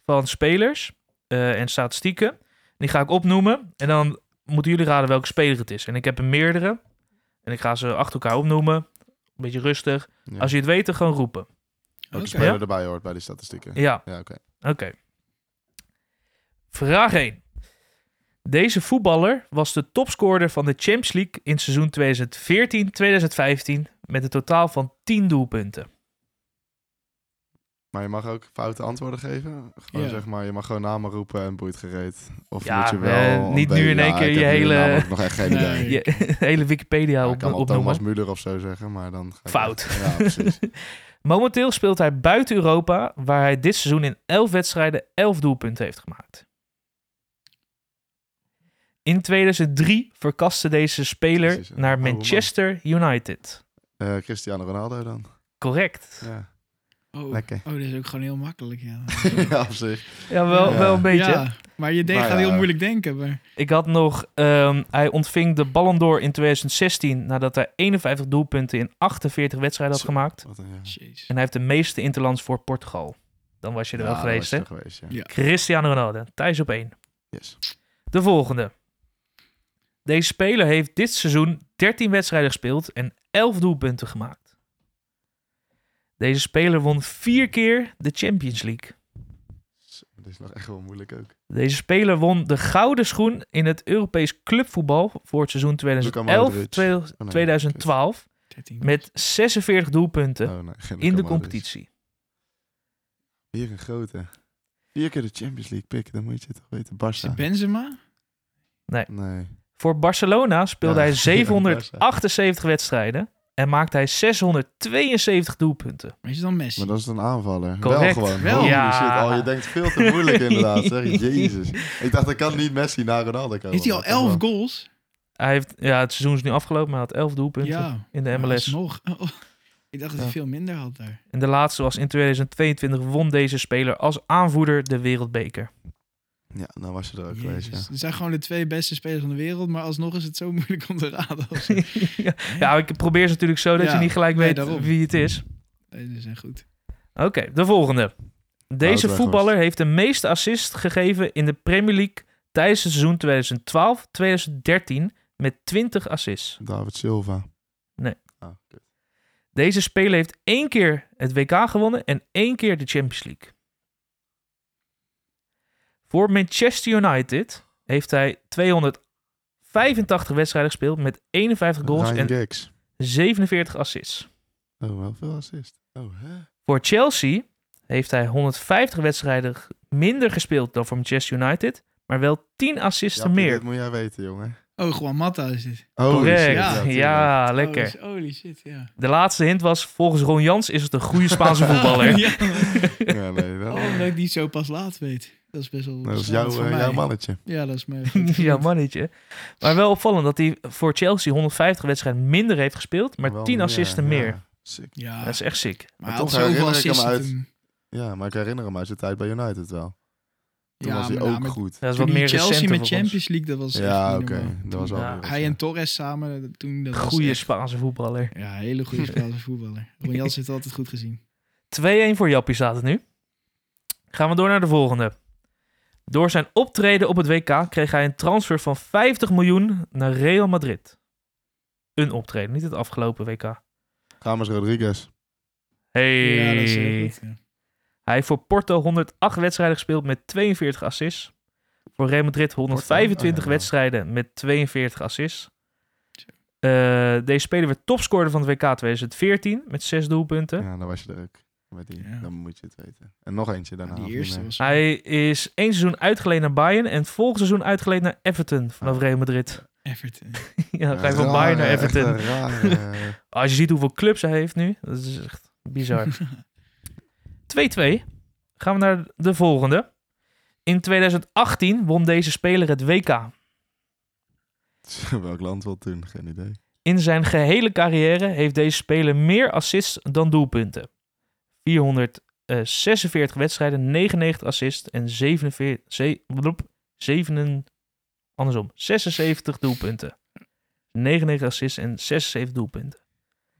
A: van spelers eh, en statistieken. Die ga ik opnoemen. En dan moeten jullie raden welke speler het is. En ik heb er meerdere. En ik ga ze achter elkaar opnoemen. Een beetje rustig.
B: Ja.
A: Als je het weet, dan gewoon roepen.
B: Ook
C: Oké.
B: de speler
A: Ja?
B: erbij hoort bij die statistieken.
A: Ja.
B: Ja, oké.
A: Oké. Vraag 1. Deze voetballer was de topscorer van de Champions League in seizoen 2014-2015 met een totaal van 10 doelpunten.
B: Maar je mag ook foute antwoorden geven. Gewoon
C: Ja.
B: zeg maar, je mag gewoon namen roepen en boeit gereed. Of
A: Ja,
B: moet je wel...
A: eh,
B: een
A: niet nu
B: beetje-
A: in één
B: Ja,
A: keer
B: ik
A: je
B: heb nu
A: hele-
B: namelijk nog echt geen
C: Nee.
B: idee.
A: Je, hele Wikipedia
B: Ja, ik
A: op,
B: kan wel
A: opnoemen.
B: Thomas Müller of zo zeggen, maar dan... ga ik
A: Fout.
B: echt- Ja, precies.
A: Momenteel speelt hij buiten Europa, waar hij dit seizoen in 11 wedstrijden 11 doelpunten heeft gemaakt. In 2003 verkaste deze speler
B: Jezus, een
A: naar
B: oude man.
A: Manchester United.
B: Eh, Cristiano Ronaldo dan.
A: Correct.
B: Ja,
C: Oh,
B: lekker.
C: oh, dat is ook gewoon heel makkelijk, ja.
B: ja, op zich.
A: Ja, wel,
B: Ja.
A: wel een beetje.
C: Ja, maar je denkt,
B: Maar
C: gaat heel
B: ja.
C: moeilijk denken. Maar...
A: Ik had nog, ehm, hij ontving de Ballon d'Or in 2016 nadat hij 51 doelpunten in 48 wedstrijden had
B: Zo.
A: gemaakt.
B: Wat een, ja.
C: Jeez.
A: En hij heeft de meeste interlands voor Portugal. Dan was je er
B: Ja,
A: wel
B: dat
A: geweest,
B: was je
A: hè?
B: er geweest, ja.
C: Ja.
A: Cristiano Ronaldo, Thijs op één.
B: Yes.
A: De volgende. Deze speler heeft dit seizoen 13 wedstrijden gespeeld en 11 doelpunten gemaakt. Deze speler won vier keer de Champions League.
B: Zo, Dit is nog echt wel moeilijk ook. Oh,
A: Deze speler won de gouden schoen in het Europees clubvoetbal voor het seizoen
B: Luka
A: 2011,
B: Modric.
A: 2000
B: Oh, nee.
A: 2012
C: 13.
A: met 46 doelpunten
C: Nou,
B: Oh, nee, geen
A: in de
B: Luka Modric.
C: dus.
A: competitie.
B: Hier een grote. Vier keer de Champions League pick, dan moet je toch weten.
C: Is het
B: Barca.
C: Benzema?
B: Nee.
A: Voor Barcelona speelde
B: Ja,
A: hij
B: ja,
A: 778 wedstrijden en maakte hij 672 doelpunten.
C: Maar is het dan Messi?
B: Maar dat is een aanvaller.
A: Correct.
B: Wel gewoon.
C: Wel.
B: Holy
A: Ja.
B: shit. Oh, je denkt veel te moeilijk inderdaad. Zeg, jezus. Ik dacht, dat kan niet Messi naar Ronaldo komen.
C: Heeft hij al
B: Maar toch
C: 11
B: wel.
C: goals?
A: Hij heeft, ja, het seizoen is nu afgelopen, maar hij had 11 doelpunten
C: Ja.
A: in de MLS.
C: Nog. Oh, Ik dacht dat hij
B: Ja.
C: veel minder had daar.
A: En de laatste was in 2022 won deze speler als aanvoerder de wereldbeker.
B: Ja, nou was je er ook
C: Jezus.
B: geweest, ja.
C: Het zijn gewoon de twee beste spelers van de wereld, maar alsnog is het zo moeilijk om te raden. Als...
A: ja, ja, ik probeer ze natuurlijk zo dat
C: Ja,
A: je niet gelijk
C: nee,
A: weet
C: daarom.
A: wie het is.
C: Deze zijn goed.
A: Oké, de volgende. Deze
B: Wout
A: voetballer heeft de meeste assists gegeven in de Premier League tijdens het seizoen 2012-2013 met 20 assists.
B: David Silva.
A: Nee.
B: Ah, kut.
A: Deze speler heeft één keer het WK gewonnen en één keer de Champions League. Voor Manchester United heeft hij 285 wedstrijden gespeeld met 51 goals en
B: Ryan Giggs.
A: 47 assists.
B: Oh, wel veel assist. Oh, hè?
A: Voor Chelsea heeft hij 150 wedstrijden g- minder gespeeld dan voor Manchester United, maar wel 10 assisten
B: Jappie,
A: meer.
B: Dit moet jij weten, jongen.
C: Oh, gewoon Matta is dit.
B: Oh,
A: Correct.
C: ja,
A: Ja,
B: tuurlijk.
A: lekker.
C: Oh, holy shit, ja.
A: De laatste hint was: volgens Ron Jans is het een goede Spaanse voetballer.
C: Ja.
B: Ja, nee, wel.
C: Oh, dat ik die zo pas laat weet. Dat is best wel.
B: dat is
C: spannend
B: jouw,
C: voor
B: eh,
C: mij.
B: jouw mannetje.
C: Ja, dat is mijn.
A: ja, mannetje. Maar wel opvallend dat hij voor Chelsea 150 wedstrijden minder heeft gespeeld, maar
B: Wel
A: 10 assisten
B: ja.
A: meer.
B: Sick.
C: Ja,
A: Dat is echt sick.
C: maar hij
B: toch eh,
C: had zoveel
B: herinner ik hem
C: assists.
B: uit.
C: toen-
B: Ja, maar ik herinner hem uit zijn tijd bij United wel. Toen
C: Ja,
B: was hij
C: maar nou,
B: ook
C: ja, maar
B: goed.
A: Dat is
C: Toen
A: wat meer
C: die Chelsea
A: recenter voor
C: met
A: ons.
C: Champions League, dat was
B: Ja,
C: echt
B: oké.
C: niet normaal.
B: Dat was wel
A: Ja,
B: weer wat,
C: Hij
B: ja.
C: en Torres samen, dat- toen dat was
A: Goede
C: echt-
A: Spaanse voetballer. 2-1
C: Ja, een hele goede Spaanse voetballer. Ron Jans heeft het altijd goed gezien.
A: voor Jappie staat het nu. Gaan we door naar de volgende. Door zijn optreden op het WK kreeg hij een transfer van 50 miljoen naar Real Madrid. Een optreden, niet het afgelopen WK.
B: James Rodriguez.
A: Hey.
C: Ja, dat is heel goed. ja.
A: Hij heeft voor Porto 108 wedstrijden gespeeld met 42 assists. Voor Real Madrid 125
B: Oh, ja.
A: wedstrijden met 42 assists. Eh, deze speler werd topscorer van het WK 2014 met 6 doelpunten.
B: Ja, dan was je er ook. Met die.
C: Ja.
B: Dan moet je het weten. En nog eentje daarna.
C: Die
B: of
C: eerste
B: niet
C: was...
A: Hij is één seizoen uitgeleend naar Bayern en het volgende seizoen uitgeleend naar Everton vanaf
B: Ah.
A: Real Madrid.
C: Everton.
A: ja,
B: meer?
A: ga je
B: Ja,
A: van Bayern naar
B: rare, echt
A: Everton.
B: een rare-
A: Als je ziet hoeveel clubs hij heeft nu, dat is echt bizar. 2-2. Gaan we naar de volgende. In 2018 won deze speler het WK.
B: Welk land wel toen? Geen idee.
A: In zijn gehele carrière heeft deze speler meer assists dan doelpunten. 446 wedstrijden, 99 assists en 47, ze- blop, 7, andersom, 76 doelpunten. 99 assists en 76 doelpunten.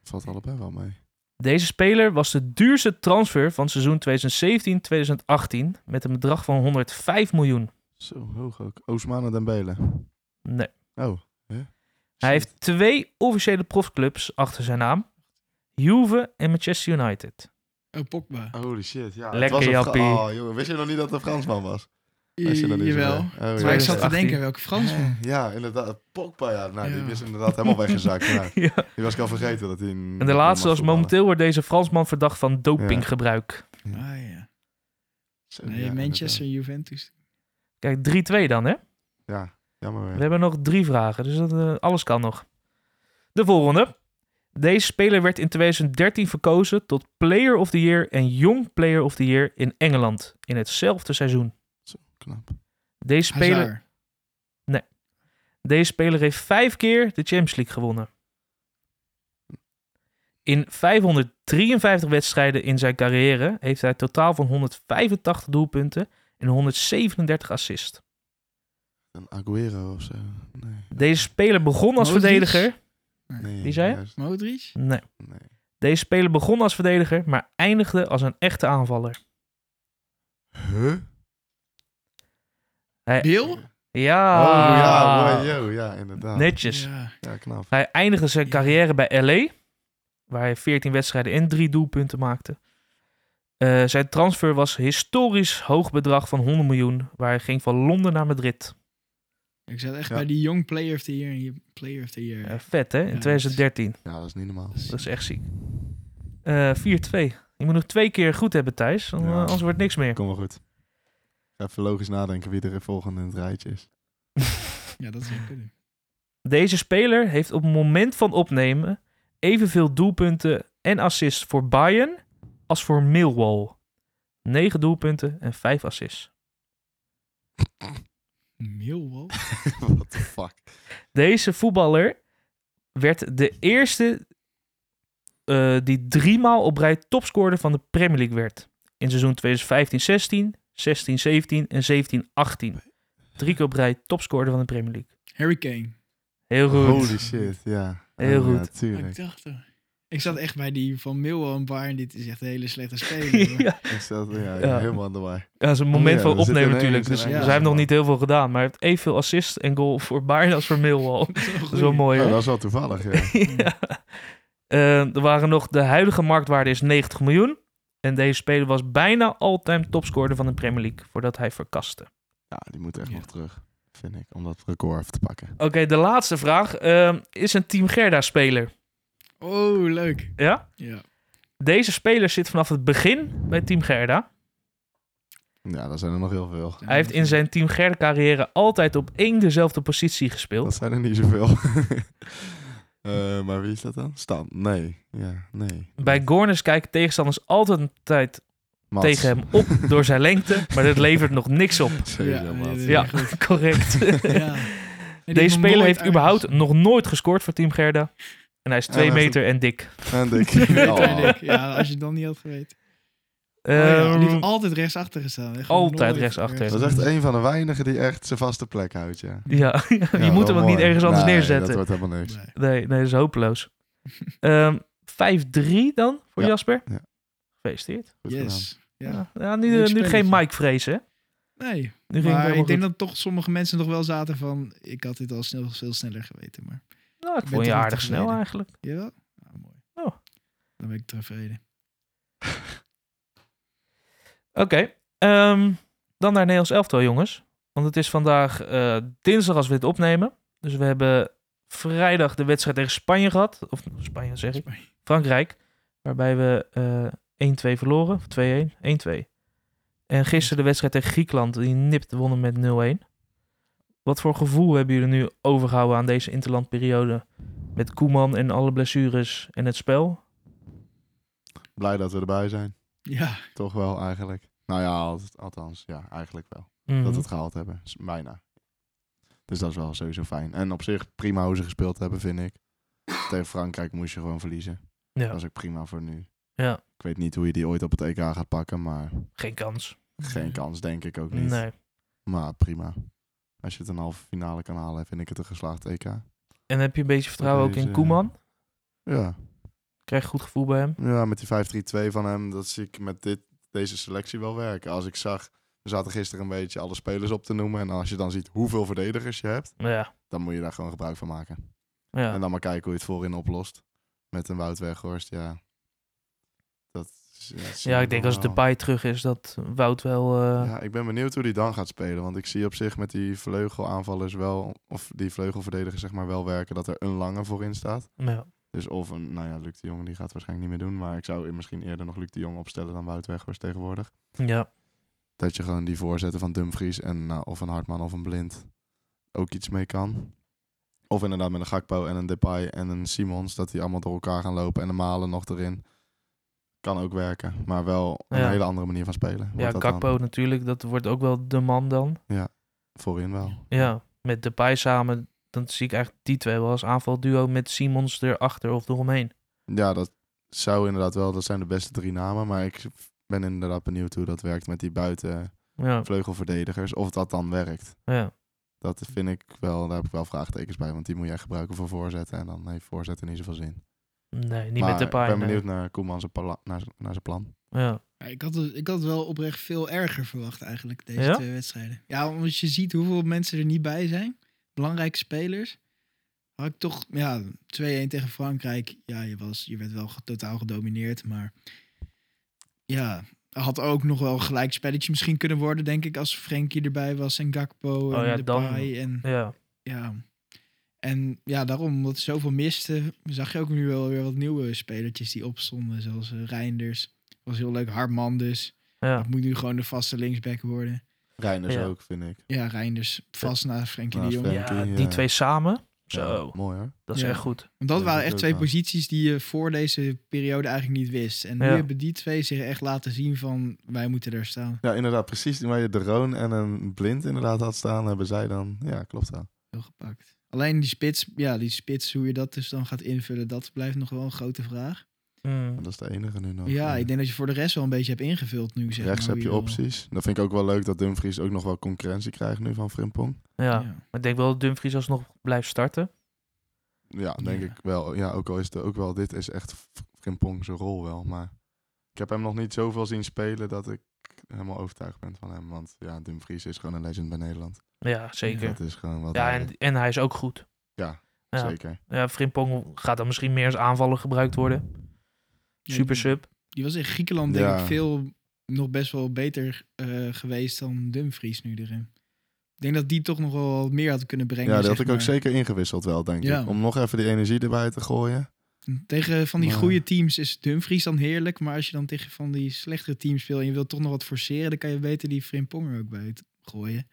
B: Valt allebei wel mee.
A: Deze speler was de duurste transfer van seizoen 2017-2018 met een bedrag van 105 miljoen.
B: Zo hoog ook. Ousmane Dembele.
A: Nee.
B: Oh. hè?
A: Hij heeft twee officiële profclubs achter zijn naam. Juve en Manchester United.
C: Oh, Pogba.
B: Holy shit, ja.
A: Lekker,
B: het was een Fra-
A: jappie.
B: Oh, jongen, wist je nog niet dat het een Fransman was? Wist je dat niet zo
C: Jawel.
B: goed? Oh,
C: Maar ik zat te
A: 2018.
C: denken, welke Fransman?
B: Ja, inderdaad. Pogba, ja. Nou, die
C: Ja.
B: is inderdaad helemaal weggezakt. Ja,
A: Ja.
B: die was ik al vergeten dat hij... een-
A: En de laatste was
B: voetballen.
A: momenteel wordt deze Fransman verdacht van dopinggebruik.
C: Ah ja.
B: Zo,
C: Nee,
B: ja,
C: Manchester, Juventus.
A: Kijk, 3-2 dan, hè?
B: inderdaad. Ja, jammer.
A: We
B: weer.
A: hebben nog drie vragen, dus dat, eh, alles kan nog. De volgende. Deze speler werd in 2013 verkozen tot Player of the Year en Young Player of the Year in Engeland in hetzelfde seizoen.
B: Knap.
A: Deze speler,
C: Hazard.
A: deze speler heeft vijf keer de Champions League gewonnen. In 553 wedstrijden in zijn carrière heeft hij een totaal van 185 doelpunten en 137 assists.
B: Een Aguero of zo. Nee.
A: Deze speler begon als
C: Modric?
A: verdediger.
B: nee
A: Wie zei je?
B: juist.
C: Modric?
A: Nee.
B: Nee.
A: Deze speler begon als verdediger, maar eindigde als een echte aanvaller.
B: Huh?
C: Bill?
A: Ja.
B: Oh ja, mooi, yo, ja, inderdaad.
A: Netjes.
C: Ja.
B: Ja, knap.
A: Hij eindigde zijn
C: Ja.
A: carrière bij LA, waar hij 14 wedstrijden en 3 doelpunten maakte. Eh, zijn transfer was historisch hoog bedrag van 100 miljoen, waar hij ging van Londen naar Madrid.
C: Ik zat echt
B: Ja.
C: bij die Young Player of the Year en je Player of the Year.
A: Eh, vet hè, in
C: Ja,
A: 2013.
B: Ja, dat is niet normaal.
A: Dat is echt ziek. Eh 4-2. Je moet nog twee keer goed hebben Thijs, dan,
B: Ja.
A: eh, anders wordt het niks meer.
B: Kom wel goed. Even logisch nadenken wie er volgende in het rijtje is.
C: Ja, dat zou kunnen.
A: Deze speler heeft op het moment van opnemen evenveel doelpunten en assists voor Bayern als voor Millwall. 9 doelpunten en 5 assists.
C: Millwall?
B: What the fuck?
A: Deze voetballer werd de eerste eh, die driemaal op rij topscorer van de Premier League werd. In seizoen 2015-16, 16-17 en 17-18. Drie keer op rij topscorer van de Premier League.
C: Harry Kane.
A: Heel goed.
B: Holy shit, ja.
A: Heel
B: Oh, ja,
A: goed.
C: Oh, ik
B: tuurlijk.
C: dacht er. Ik zat echt bij die van Millwall en Bayern. Dit is echt een hele slechte speler. maar-
A: ja.
B: Ik zat ja,
A: Ja.
B: helemaal aan de war.
A: Ja, dat is een moment
B: Oh, Ja,
A: van
B: er zit
A: opnemen
B: ineens
A: natuurlijk.
B: een
A: Dus,
C: eind
A: dus
C: aan.
A: hij heeft nog niet heel veel gedaan. Maar hij heeft evenveel assist en goal voor Bayern als voor Millwall. Dat is wel mooi.
B: Oh,
A: hè?
B: dat is wel toevallig, ja.
A: Ja. Eh, er waren nog... De huidige marktwaarde is 90 miljoen. En deze speler was bijna all-time topscorer van de Premier League. Voordat hij verkaste.
B: Ja, die moet echt
C: Ja.
B: nog terug, vind ik. Om dat record even te pakken.
A: Oké, de laatste vraag. Eh, is een Team Gerda-speler?
C: Oh, leuk.
A: Ja?
C: Ja.
A: Deze speler zit vanaf het begin bij Team Gerda.
B: Ja, daar zijn er nog heel veel.
A: Hij heeft in zijn Team Gerda-carrière altijd op één dezelfde positie
B: Dat
A: gespeeld.
B: zijn er niet zoveel. Eh, maar wie is dat dan? Stan? Nee. Ja, nee.
A: Bij Gornes kijken tegenstanders altijd
B: Mats.
A: tegen hem op door zijn lengte, maar dat levert nog niks op.
B: Sowieso,
C: Ja,
B: Mats.
C: ja,
A: Ja,
C: Goed.
A: correct.
C: Ja. En die
A: Deze
C: heeft nog
A: speler
C: nooit
A: heeft
C: uit-
A: überhaupt nog nooit gescoord voor Team Gerda. En hij is
B: Ja,
A: 2
B: maar goed.
A: meter en dik.
B: En dik.
C: Nee,
B: Oh.
C: twee dik. Ja, als je het dan niet had geweten. Oh ja,
A: Ehm,
C: die heeft altijd rechtsachter gestaan. Echt
A: altijd
C: nooit
A: rechtsachter.
B: Dat is echt een van de weinigen die echt zijn vaste plek houdt, ja.
A: ja, je
B: Ja,
A: moet
B: wel
A: hem ook niet
B: mooi.
A: ergens anders
B: Nee,
A: neerzetten.
B: dat wordt helemaal niks.
C: Nee.
A: Nee, nee, dat is hopeloos. Ehm 5-3 dan voor
B: Ja,
A: Jasper.
B: ja.
A: Gefeliciteerd.
B: Goed gedaan.
C: Yes. Ja.
A: Ja. nu,
C: Leuk
A: nu
C: spelletje.
A: geen Mike vrezen. hè? Nu
C: Nee,
A: ging het
C: maar
A: helemaal
C: ik denk
A: goed.
C: dat toch sommige mensen nog wel zaten van... Ik had dit al snel, veel sneller geweten, maar...
A: Nou, ik
C: ben
A: vond je
C: toch wel
A: aardig snel
C: tevreden.
A: eigenlijk.
C: Jawel? Ah, mooi.
A: Oh.
C: Dan ben ik tevreden.
A: Oké. ehm, dan naar Nederlands elftal, jongens. Want het is vandaag eh, dinsdag als we dit opnemen. Dus we hebben vrijdag de wedstrijd tegen Spanje gehad. Of Spanje zeg ik.
C: Spanje.
A: Frankrijk. Waarbij we eh 1-2 verloren. Of 2-1. 1-2. En gisteren de wedstrijd tegen Griekenland. Die nipt wonnen met 0-1. Wat voor gevoel hebben jullie nu overgehouden aan deze interlandperiode? Met Koeman en alle blessures en het spel?
B: Blij dat we erbij zijn.
C: Ja,
B: Toch wel, eigenlijk. Nou ja, al- althans, ja, eigenlijk wel.
A: Mhm.
B: Dat we het gehaald hebben. S- Bijna. Dus dat is wel sowieso fijn. En op zich prima hoe ze gespeeld hebben, vind ik. Tegen Frankrijk moest je gewoon verliezen.
A: ja.
B: Dat is ook prima voor nu.
A: Ja.
B: Ik weet niet hoe je die ooit op het EK gaat pakken, maar
A: Geen kans.
B: geen kans denk ik ook niet.
A: Nee.
B: Maar prima. Als je het een halve finale kan halen, vind ik het een geslaagd E EK.
A: En heb je een beetje vertrouwen ook in
B: Deze-
A: Koeman?
B: Ja,
A: Krijg je goed gevoel bij hem?
B: ja met die 5-3-2 van hem, dat zie ik met dit, deze selectie wel werken. Als ik zag, we zaten gisteren een beetje alle spelers op te noemen. En als je dan ziet hoeveel verdedigers je hebt,
A: Ja.
B: dan moet je daar gewoon gebruik van maken.
A: ja.
B: En dan maar kijken hoe je het voorin oplost. Met een Wout Weghorst, ja. Dat is- dat zie
A: ja,
B: je
A: ik denk
B: nog
A: als de
B: wel. eh,
A: baai terug is, dat Wout wel... eh,
B: Ja, ik ben benieuwd hoe die dan gaat spelen. Want ik zie op zich met die vleugelaanvallers wel, of die vleugelverdedigers zeg maar wel werken, dat er een lange voorin staat.
A: ja.
B: Dus of een, nou ja, Luc de Jong, die gaat het waarschijnlijk niet meer doen. Maar ik zou misschien eerder nog Luc de Jong opstellen dan Wout Weghorst tegenwoordig.
A: Ja.
B: Dat je gewoon die voorzetten van Dumfries en nou, of een Hartman of een Blind ook iets mee kan. Of inderdaad met een Gakpo en een Depay en een Simons, dat die allemaal door elkaar gaan lopen en de Malen nog erin. Kan ook werken, maar wel een
A: Ja.
B: hele andere manier van spelen. Wordt
A: ja,
B: dat dan?
A: Kakpo natuurlijk, dat wordt ook wel de man dan.
B: Voorin wel.
A: Ja, met Depay samen, dan zie ik eigenlijk die twee wel als aanvalduo met Simons erachter of eromheen.
B: Ja, dat zou inderdaad wel. Dat zijn de beste drie namen. Maar ik ben inderdaad benieuwd hoe dat werkt met die buitenvleugelverdedigers.
A: Ja,
B: Of dat dan werkt.
A: ja,
B: Dat vind ik wel, daar heb ik wel vraagtekens bij. Want die moet je echt gebruiken voor voorzetten. En dan heeft voorzetten niet zoveel zin.
A: nee, niet
B: maar
A: met eh. Depay.
B: ik ben
A: nee.
B: benieuwd naar Koeman zijn, pala- naar, zijn- naar zijn plan.
A: Ja,
C: Ja, ik, had het, ik had het wel oprecht veel erger verwacht eigenlijk, deze
A: Ja?
C: twee wedstrijden. Ja, omdat je ziet hoeveel mensen er niet bij zijn. Belangrijke spelers. Had ik toch, ja, 2-1 tegen Frankrijk. Ja, je, was, je werd wel ge- totaal gedomineerd, maar... Ja, had ook nog wel een gelijk spelletje misschien kunnen worden, denk ik, als Frenkie erbij was en Gakpo en
A: Oh ja,
C: Depay en...
A: ja,
C: Ja. En ja, daarom, omdat ze zoveel misten, zag je ook nu wel weer wat nieuwe spelertjes die opstonden. Zoals eh, Reinders. Was heel leuk. Hartman dus.
A: ja.
C: Dat moet nu gewoon de vaste linksback worden.
B: Reinders
A: Ja.
B: ook, vind ik.
C: Ja, Reinders vast na Frenkie de
B: Naast
C: Jong.
B: Frenkie.
A: Ja,
B: Denkie,
A: die
B: ja.
A: twee samen, zo,
B: Ja, mooi hoor.
A: dat is
C: Ja.
A: echt goed.
C: Want dat
B: Ja,
C: waren
B: dat
C: echt
B: is
C: twee
B: ook wel.
C: posities die je voor deze periode eigenlijk niet wist. En nu
A: Ja.
C: hebben die twee zich echt laten zien van, wij moeten daar staan.
B: Ja, inderdaad. Precies waar je de Roon en een Blind inderdaad had staan, hebben zij dan... Ja, klopt wel.
C: Heel gepakt. Alleen die spits, ja, die spits, hoe je dat dus dan gaat invullen, dat blijft nog wel een grote vraag.
A: Mm.
B: Dat is de enige nu nog.
C: Ja, ik denk dat je voor de rest wel een beetje hebt ingevuld nu, zeg
B: Rechts
C: maar,
B: heb
C: hoe
B: je
C: wil.
B: opties. Dat vind ik ook wel leuk dat Dumfries ook nog wel concurrentie krijgt nu van Frimpong.
A: Ja,
C: ja.
A: maar ik denk wel dat Dumfries alsnog blijft starten.
B: Ja, denk
C: Ja.
B: ik wel. Ja, ook al is het ook wel, dit is echt F- Frimpong zijn rol wel. Maar ik heb hem nog niet zoveel zien spelen dat ik helemaal overtuigd ben van hem. Want ja, Dumfries is gewoon een legend bij Nederland.
A: Ja, zeker. Ja,
B: Dat is gewoon wat hij-
A: en, en hij is ook goed. ja.
B: zeker.
A: Ja, Frimpong gaat dan misschien meer als aanvaller gebruikt worden.
C: Ja,
A: Super sub.
C: Die was in Griekenland denk
B: Ja.
C: ik veel nog best wel beter eh, geweest dan Dumfries nu erin. Ik denk dat die toch nog wel wat meer had kunnen brengen.
B: Ja, dat
C: zeg
B: had ik ook
C: maar.
B: zeker ingewisseld wel, denk
C: Ja.
B: ik. Om nog even die energie erbij te gooien.
C: Tegen van die
B: Maar-
C: goede teams is Dumfries dan heerlijk. Maar als je dan tegen van die slechtere teams speelt en je wilt toch nog wat forceren, dan kan je beter die Frimpong er ook bij t- gooien.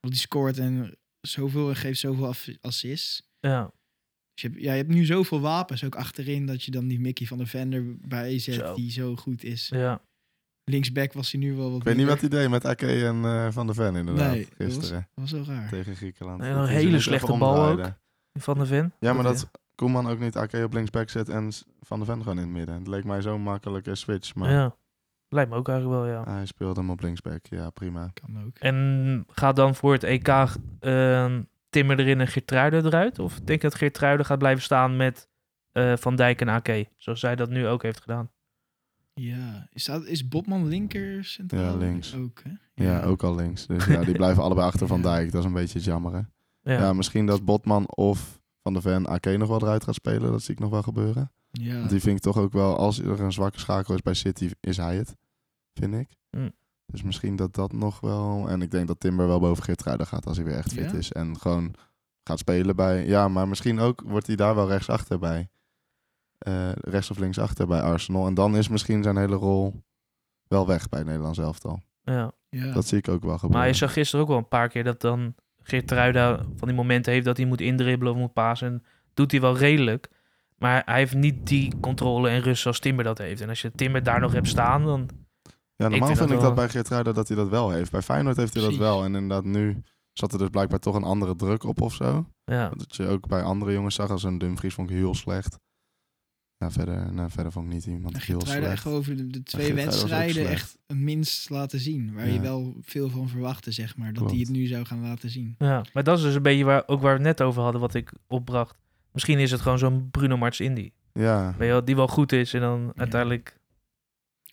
C: Want die scoort en zoveel en geeft zoveel af- assists.
A: Ja,
C: Dus je, hebt, ja, je hebt nu zoveel wapens ook achterin dat je dan die Mickey van der Vender bij zet
A: Zo.
C: die zo goed is.
A: ja.
C: Linksback was hij nu wel wat
B: Ik weet niet
C: minder.
B: wat hij deed met Ake en eh, Van der Ven inderdaad
C: Nee, dat was-
B: gisteren
C: Dat was wel raar.
B: tegen Griekenland.
A: En een
B: Dat hij
A: hele
B: zich
A: slechte
B: even
A: bal ook.
B: omdraaide.
A: Van de Ven.
B: Ja, maar
A: Dat-
B: dat Koeman ook niet AK op linksback zet en S- Van der Ven gewoon in het midden. Het leek mij zo'n makkelijke switch, maar
A: Ja. Lijkt me ook eigenlijk wel, ja.
B: hij speelde hem op linksback. Ja, prima.
C: Kan ook.
A: En gaat dan voor het EK ehm, Timmer erin en Geertruiden eruit? Of denk je dat Geertruiden gaat blijven staan met eh, Van Dijk en AK? Zoals zij dat nu ook heeft gedaan.
C: Ja, is, dat, is Bobman linker centraal?
B: Ja, links.
C: Ook, hè?
B: Ja, ook al links. Dus ja, die blijven allebei achter Van
C: Ja.
B: Dijk. Dat is een beetje het jammer, hè?
A: Ja,
B: Ja, misschien dat Botman of Van der Ven AK nog wel eruit gaat spelen. Dat zie ik nog wel gebeuren.
C: Ja,
B: Want die vind ik toch ook wel, als er een zwakke schakel is bij City, is hij het. Vind ik.
A: Mm.
B: Dus misschien dat dat nog wel... En ik denk dat Timber wel boven Geertruiden gaat als hij weer echt fit
C: Ja?
B: is. En gewoon gaat spelen bij... Ja, maar misschien ook wordt hij daar wel rechtsachter bij. Eh, rechts of links achter bij Arsenal. En dan is misschien zijn hele rol wel weg bij het Nederlands elftal.
A: ja.
C: ja.
B: Dat zie ik ook wel gebeuren.
A: Maar je zag gisteren ook wel een paar keer dat dan Geertruida van die momenten heeft dat hij moet indribbelen of moet pasen. En doet hij wel redelijk. Maar hij heeft niet die controle en rust zoals Timber dat heeft. En als je Timber daar nog hebt staan, dan
B: Ja, normaal
A: vind
B: vind,
A: dat
B: ik
A: wel-
B: dat bij Geertruida dat hij dat wel heeft. Bij Feyenoord heeft hij dat
C: Precies.
B: wel. En inderdaad, nu zat er dus blijkbaar toch een andere druk op of zo.
A: Ja.
B: Dat je ook bij andere jongens zag. Als een Dumfries vond ik heel slecht. Ja, verder, nou, verder vond ik niet iemand
C: En
B: heel
C: Geertruida echt
B: slecht.
C: over de, de twee
B: Geertruida was ook
C: wedstrijden
B: slecht.
C: echt het minst laten zien. Waar je
B: Ja.
C: wel veel van verwachtte, zeg maar. Dat
B: Klopt.
C: hij het nu zou gaan laten zien.
A: ja, maar dat is dus een beetje waar, ook waar we het net over hadden, wat ik opbracht. Misschien is het gewoon zo'n Bruno Marts Indy.
B: Ja,
A: Weet je wel, die wel goed is en dan uiteindelijk...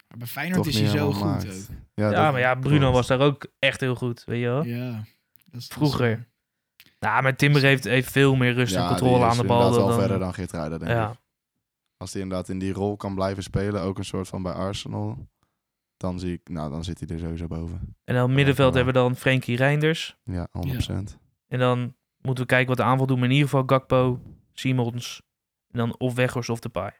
C: Maar bij Feyenoord
B: toch
C: is
B: niet
C: hij zo
B: helemaal
C: goed
B: gemaakt.
A: Ja,
B: dat-
A: maar ja, Bruno
B: klopt.
A: was daar ook echt heel goed, weet je wel.
C: ook. Ja. Dat is-
A: Vroeger. Nou, maar Timber heeft, heeft veel meer rust en
B: Ja, die
A: controle
B: is
A: aan de bal.
B: inderdaad
A: Dan,
B: wel
A: dan-
B: verder dan Geertruida, denk
A: ja.
B: ik. Als hij inderdaad in die rol kan blijven spelen, ook een soort van bij Arsenal, dan zie ik, nou, dan zit hij er sowieso boven.
A: En dan middenveld
B: Ja.
A: hebben we dan Frenkie Reinders.
B: Ja, 100%.
A: En dan moeten we kijken wat de aanval doen. Maar in ieder geval Gakpo, Simons. En dan of Weghorst of Depay.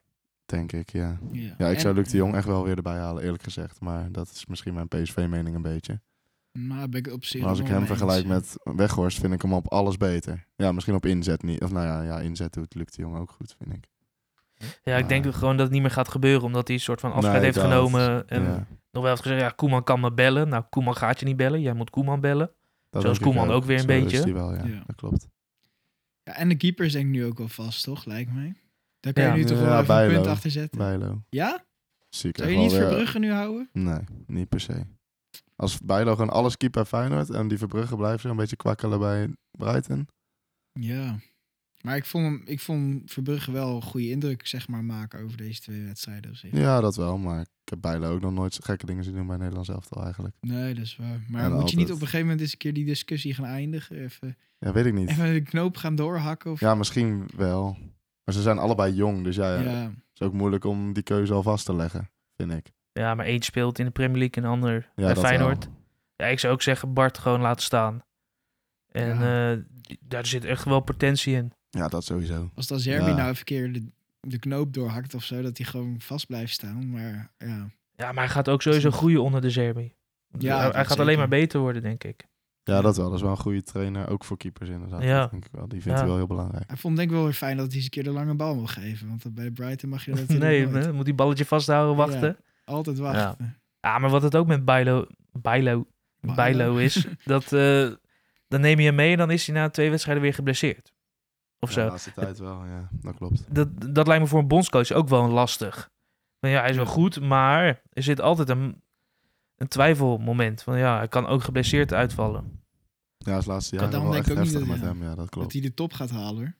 B: Denk ik, ja.
C: Ja,
B: Ja, ik
C: En-
B: zou Luc de Jong echt wel weer erbij halen, eerlijk gezegd. Maar dat is misschien mijn PSV-mening een beetje.
C: Maar ben ik op zich
B: Maar als
C: wel
B: ik hem
C: mee eens.
B: vergelijk met Weghorst, vind ik hem op alles beter. Ja, misschien op inzet niet. Of nou ja, ja inzet doet Luc de Jong ook goed, vind ik.
A: Ja, ik denk
B: Ja.
A: gewoon dat het niet meer gaat gebeuren. Omdat hij een soort van afscheid
B: Nee,
A: heeft
B: dat.
A: genomen. En
B: ja,
A: nog wel heeft gezegd, ja, Koeman kan me bellen. Nou, Koeman gaat je niet bellen. Jij moet Koeman bellen.
B: dat
A: zoals
B: denk ik
A: Koeman ook weer een
B: Zo is
A: beetje.
B: die wel, ja.
C: Ja.
B: Dat klopt.
C: Ja, en de keeper is denk ik nu ook wel vast, toch? Lijkt mij. Daar kan
A: Ja.
C: je nu toch
B: Ja,
C: wel even
B: Bijlo.
C: een punt achter zetten.
B: Bijlo.
C: Ja?
B: Zie ik echt
C: Zou je
B: wel
C: niet
B: weer-
C: Verbrugge nu houden?
B: Nee, niet per se. Als Bijlo gewoon alles keept bij Feyenoord en die Verbrugge blijft zo een beetje kwakkelen bij Brighton.
C: Ja. Maar ik vond, hem, ik vond Verbrugge wel een goede indruk, zeg maar, maken over deze twee wedstrijden op zich.
B: Ja, dat wel, maar ik heb Bijlo ook nog nooit gekke dingen zien doen bij Nederlands elftal eigenlijk.
C: Nee, dat is waar. Maar
B: En
C: moet je
B: altijd.
C: niet op een gegeven moment eens een keer die discussie gaan eindigen? Even,
B: Ja, weet ik niet.
C: even de knoop gaan doorhakken? Of,
B: Ja, misschien wel. Maar ze zijn allebei jong, dus ja, het
C: ja.
B: is ook moeilijk om die keuze al vast te leggen, vind ik.
A: Ja, maar één speelt in de Premier League en de ander
B: Ja,
A: bij
B: dat
A: Feyenoord.
B: wel.
A: Ja, ik zou ook zeggen, Bart gewoon laten staan. En
C: Ja.
A: eh, die- daar zit echt wel potentie in.
B: Ja, dat sowieso.
C: Als dat Zerbi
B: Ja.
C: nou even een keer de, de knoop doorhakt of zo, dat hij gewoon vast blijft staan. Maar ja,
A: Ja, maar hij gaat ook sowieso groeien onder de Zerbi.
C: Ja,
A: hij hij
C: dat
A: gaat
C: zeker.
A: alleen maar beter worden, denk ik.
B: Ja, dat wel. Dat is wel een goede trainer, ook voor keepers inderdaad.
A: Ja.
B: Dat denk ik wel. Die vindt
A: Ja.
B: hij wel heel belangrijk.
C: hij vond denk ik wel weer fijn dat hij eens een keer de lange bal wil geven. Want bij Brighton mag je dat natuurlijk
A: Nee,
C: nooit.
A: hè, moet die balletje vasthouden, wachten.
C: altijd wachten.
A: Ja, Ah, maar wat het ook met Bijlo, Bijlo,
C: Bijlo.
A: Bijlo is, dat eh, dan neem je hem mee en dan is hij na twee wedstrijden weer geblesseerd. Of
B: Ja,
A: zo.
B: de laatste tijd wel, ja. Dat klopt.
A: Dat, dat lijkt me voor een bondscoach ook wel lastig. Van, ja, hij is wel goed, maar er zit altijd een, een twijfelmoment. Van ja, hij kan ook geblesseerd uitvallen.
B: Ja, het laatste
C: Ja,
B: jaar
C: daarom
B: wel
C: denk
B: echt
C: ik ook niet
B: heftig
C: dat-
B: met
C: ja.
B: hem. Ja, dat
C: dat
B: klopt.
C: hij de top gaat halen hoor.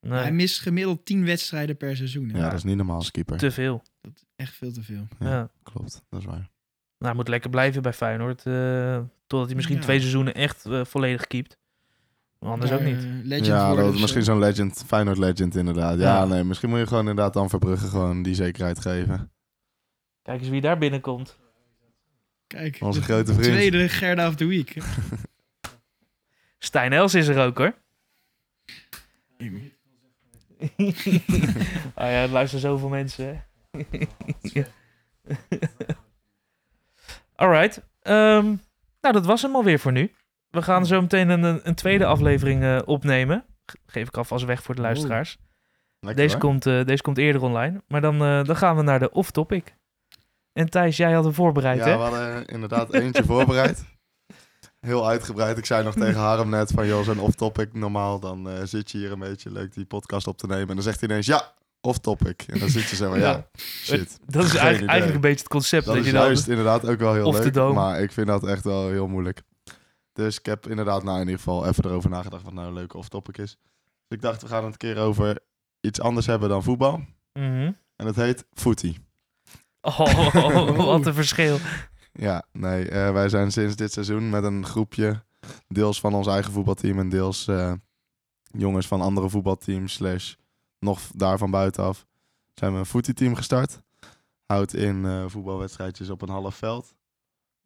A: Nee,
C: Hij mist gemiddeld 10 wedstrijden per seizoen. Hè?
B: Ja, dat is niet normaal als keeper.
A: te veel.
C: Dat is echt veel te veel.
A: Ja.
B: Ja. Klopt, dat is waar.
A: Nou, hij moet lekker blijven bij Feyenoord. eh, totdat hij misschien
C: Ja.
A: twee seizoenen echt eh, volledig keept. Maar anders
C: Daar,
A: ook niet.
C: eh, Legend
B: ja,
C: worden
B: dat
C: of
B: is
C: zo.
B: misschien zo'n legend, Feyenoord legend inderdaad. Ja,
A: Ja.
B: nee, misschien moet je gewoon inderdaad dan Verbrugge gewoon die zekerheid geven.
A: Kijk eens wie daar binnenkomt.
C: Kijk,
B: Onze
C: de
B: grote vriend.
C: Tweede Gerda of the Week.
A: Stijn Els is er ook hoor. Ah ja, er luisteren zoveel mensen. hè. ja. Alright. ehm, nou, dat was hem alweer voor nu. We gaan zo meteen een- een, een tweede aflevering eh, opnemen. Ge- Geef ik alvast weg voor de luisteraars.
B: Lekker,
A: Deze
B: hoor.
A: komt, eh, deze komt eerder online. Maar dan, eh, dan gaan we naar de off-topic. En Thijs, jij had hem voorbereid,
B: Ja,
A: hè?
B: we hadden er inderdaad eentje voorbereid. Heel uitgebreid. Ik zei nog tegen Harem net van, joh, zijn off-topic normaal. Dan eh, zit je hier een beetje leuk die podcast op te nemen. En dan zegt hij ineens, ja, off-topic. En dan zit je zo van, ja,
A: Ja.
B: shit.
A: Dat is
B: Geen
A: eigenlijk,
B: idee.
A: eigenlijk een beetje het concept.
B: Dat
A: Dat,
B: is
A: je dan...
B: juist inderdaad ook wel heel
A: off the
B: leuk.
A: dome.
B: Maar ik vind dat echt wel heel moeilijk. Dus ik heb inderdaad nou in ieder geval even erover nagedacht wat nou een leuke off-topic is. Dus ik dacht, we gaan het een keer over iets anders hebben dan voetbal.
A: Mhm.
B: En het heet footy.
A: Oh, wat een verschil.
B: Ja, nee, eh, wij zijn sinds dit seizoen met een groepje, deels van ons eigen voetbalteam en deels eh, jongens van andere voetbalteams, slash nog daar van buitenaf, zijn we een footyteam gestart. Houdt in eh, voetbalwedstrijdjes op een half veld.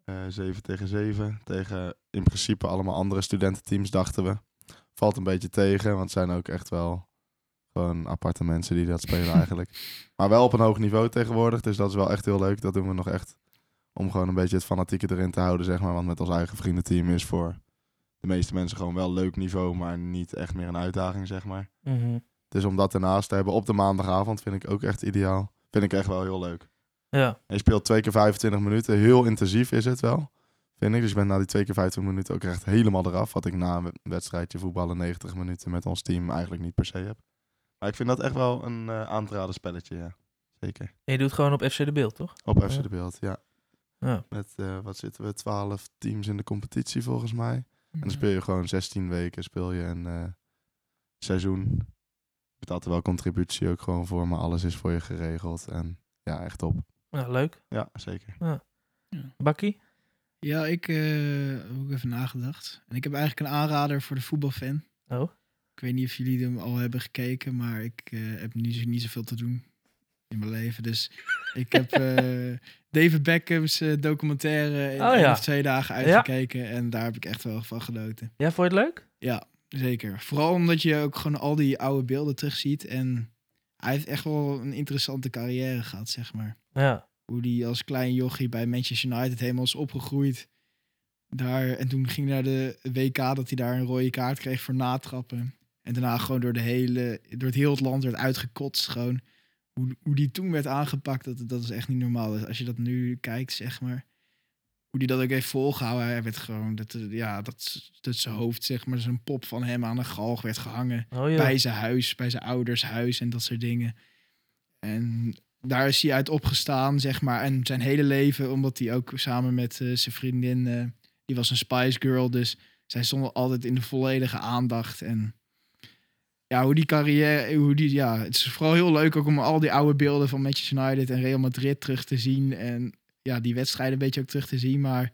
B: Eh 7 tegen 7. Tegen in principe allemaal andere studententeams, dachten we. Valt een beetje tegen, want het zijn ook echt wel gewoon aparte mensen die dat spelen eigenlijk. Maar wel op een hoog niveau tegenwoordig, dus dat is wel echt heel leuk. Dat doen we nog echt om gewoon een beetje het fanatieke erin te houden, zeg maar. Want met ons eigen vriendenteam is voor de meeste mensen gewoon wel leuk niveau, maar niet echt meer een uitdaging, zeg maar.
A: Mhm.
B: Dus om dat ernaast te hebben op de maandagavond vind ik ook echt ideaal. Vind ik echt wel heel leuk.
A: Ja.
B: En je speelt twee keer 25 minuten. Heel intensief is het wel, vind ik. Dus ik ben na die twee keer 25 minuten ook echt helemaal eraf. Wat ik na een wedstrijdje voetballen 90 minuten met ons team eigenlijk niet per se heb. Maar ik vind dat echt wel een eh aan te raden spelletje, ja. Zeker.
A: En je doet gewoon op FC de Beeld, toch?
B: Op FC
A: Ja.
B: De Beeld, ja.
A: Ja.
B: Met, eh, wat zitten we, 12 teams in de competitie volgens mij. En
A: Mhm.
B: dan speel je gewoon 16 weken, speel je een eh, seizoen. Je betaalt er wel contributie ook gewoon voor, maar alles is voor je geregeld. En ja, echt top.
A: Ja, leuk.
B: Ja, zeker.
A: Bakkie?
C: Ja, ik eh, heb ook even nagedacht. En ik heb eigenlijk een aanrader voor de voetbalfan.
A: Oh.
C: Ik weet niet of jullie hem al hebben gekeken, maar ik eh, heb nu zo- niet zoveel te doen in mijn leven. Dus ik heb eh, David Beckham's eh, documentaire in
A: Oh ja.
C: één of twee dagen uitgekeken. En daar heb ik echt wel van genoten.
A: Ja, vond je het leuk?
C: Ja, zeker. Vooral omdat je ook gewoon al die oude beelden terugziet. En hij heeft echt wel een interessante carrière gehad, zeg maar.
A: Ja.
C: Hoe die als klein jochie bij Manchester United helemaal is opgegroeid. Daar, en toen ging hij naar de WK dat hij daar een rode kaart kreeg voor natrappen. En daarna gewoon door, de hele, door het heel het land werd uitgekotst. Gewoon. Hoe, hoe die toen werd aangepakt, dat, dat is echt niet normaal. Dus Als je dat nu kijkt, zeg maar. Hoe die dat ook heeft volgehouden. Hij werd gewoon, dat, eh, ja, dat, dat zijn hoofd, zeg maar, zijn pop van hem aan een galg werd gehangen
A: Oh ja.
C: bij zijn huis, bij zijn ouders huis en dat soort dingen. En daar is hij uit opgestaan, zeg maar. En zijn hele leven, omdat hij ook samen met eh, zijn vriendin, eh, die was een Spice Girl, dus zij stonden altijd in de volledige aandacht. En ja, hoe die carrière, hoe die, ja, het is vooral heel leuk ook om al die oude beelden van Manchester United en Real Madrid terug te zien. En ja, die wedstrijden een beetje ook terug te zien, maar.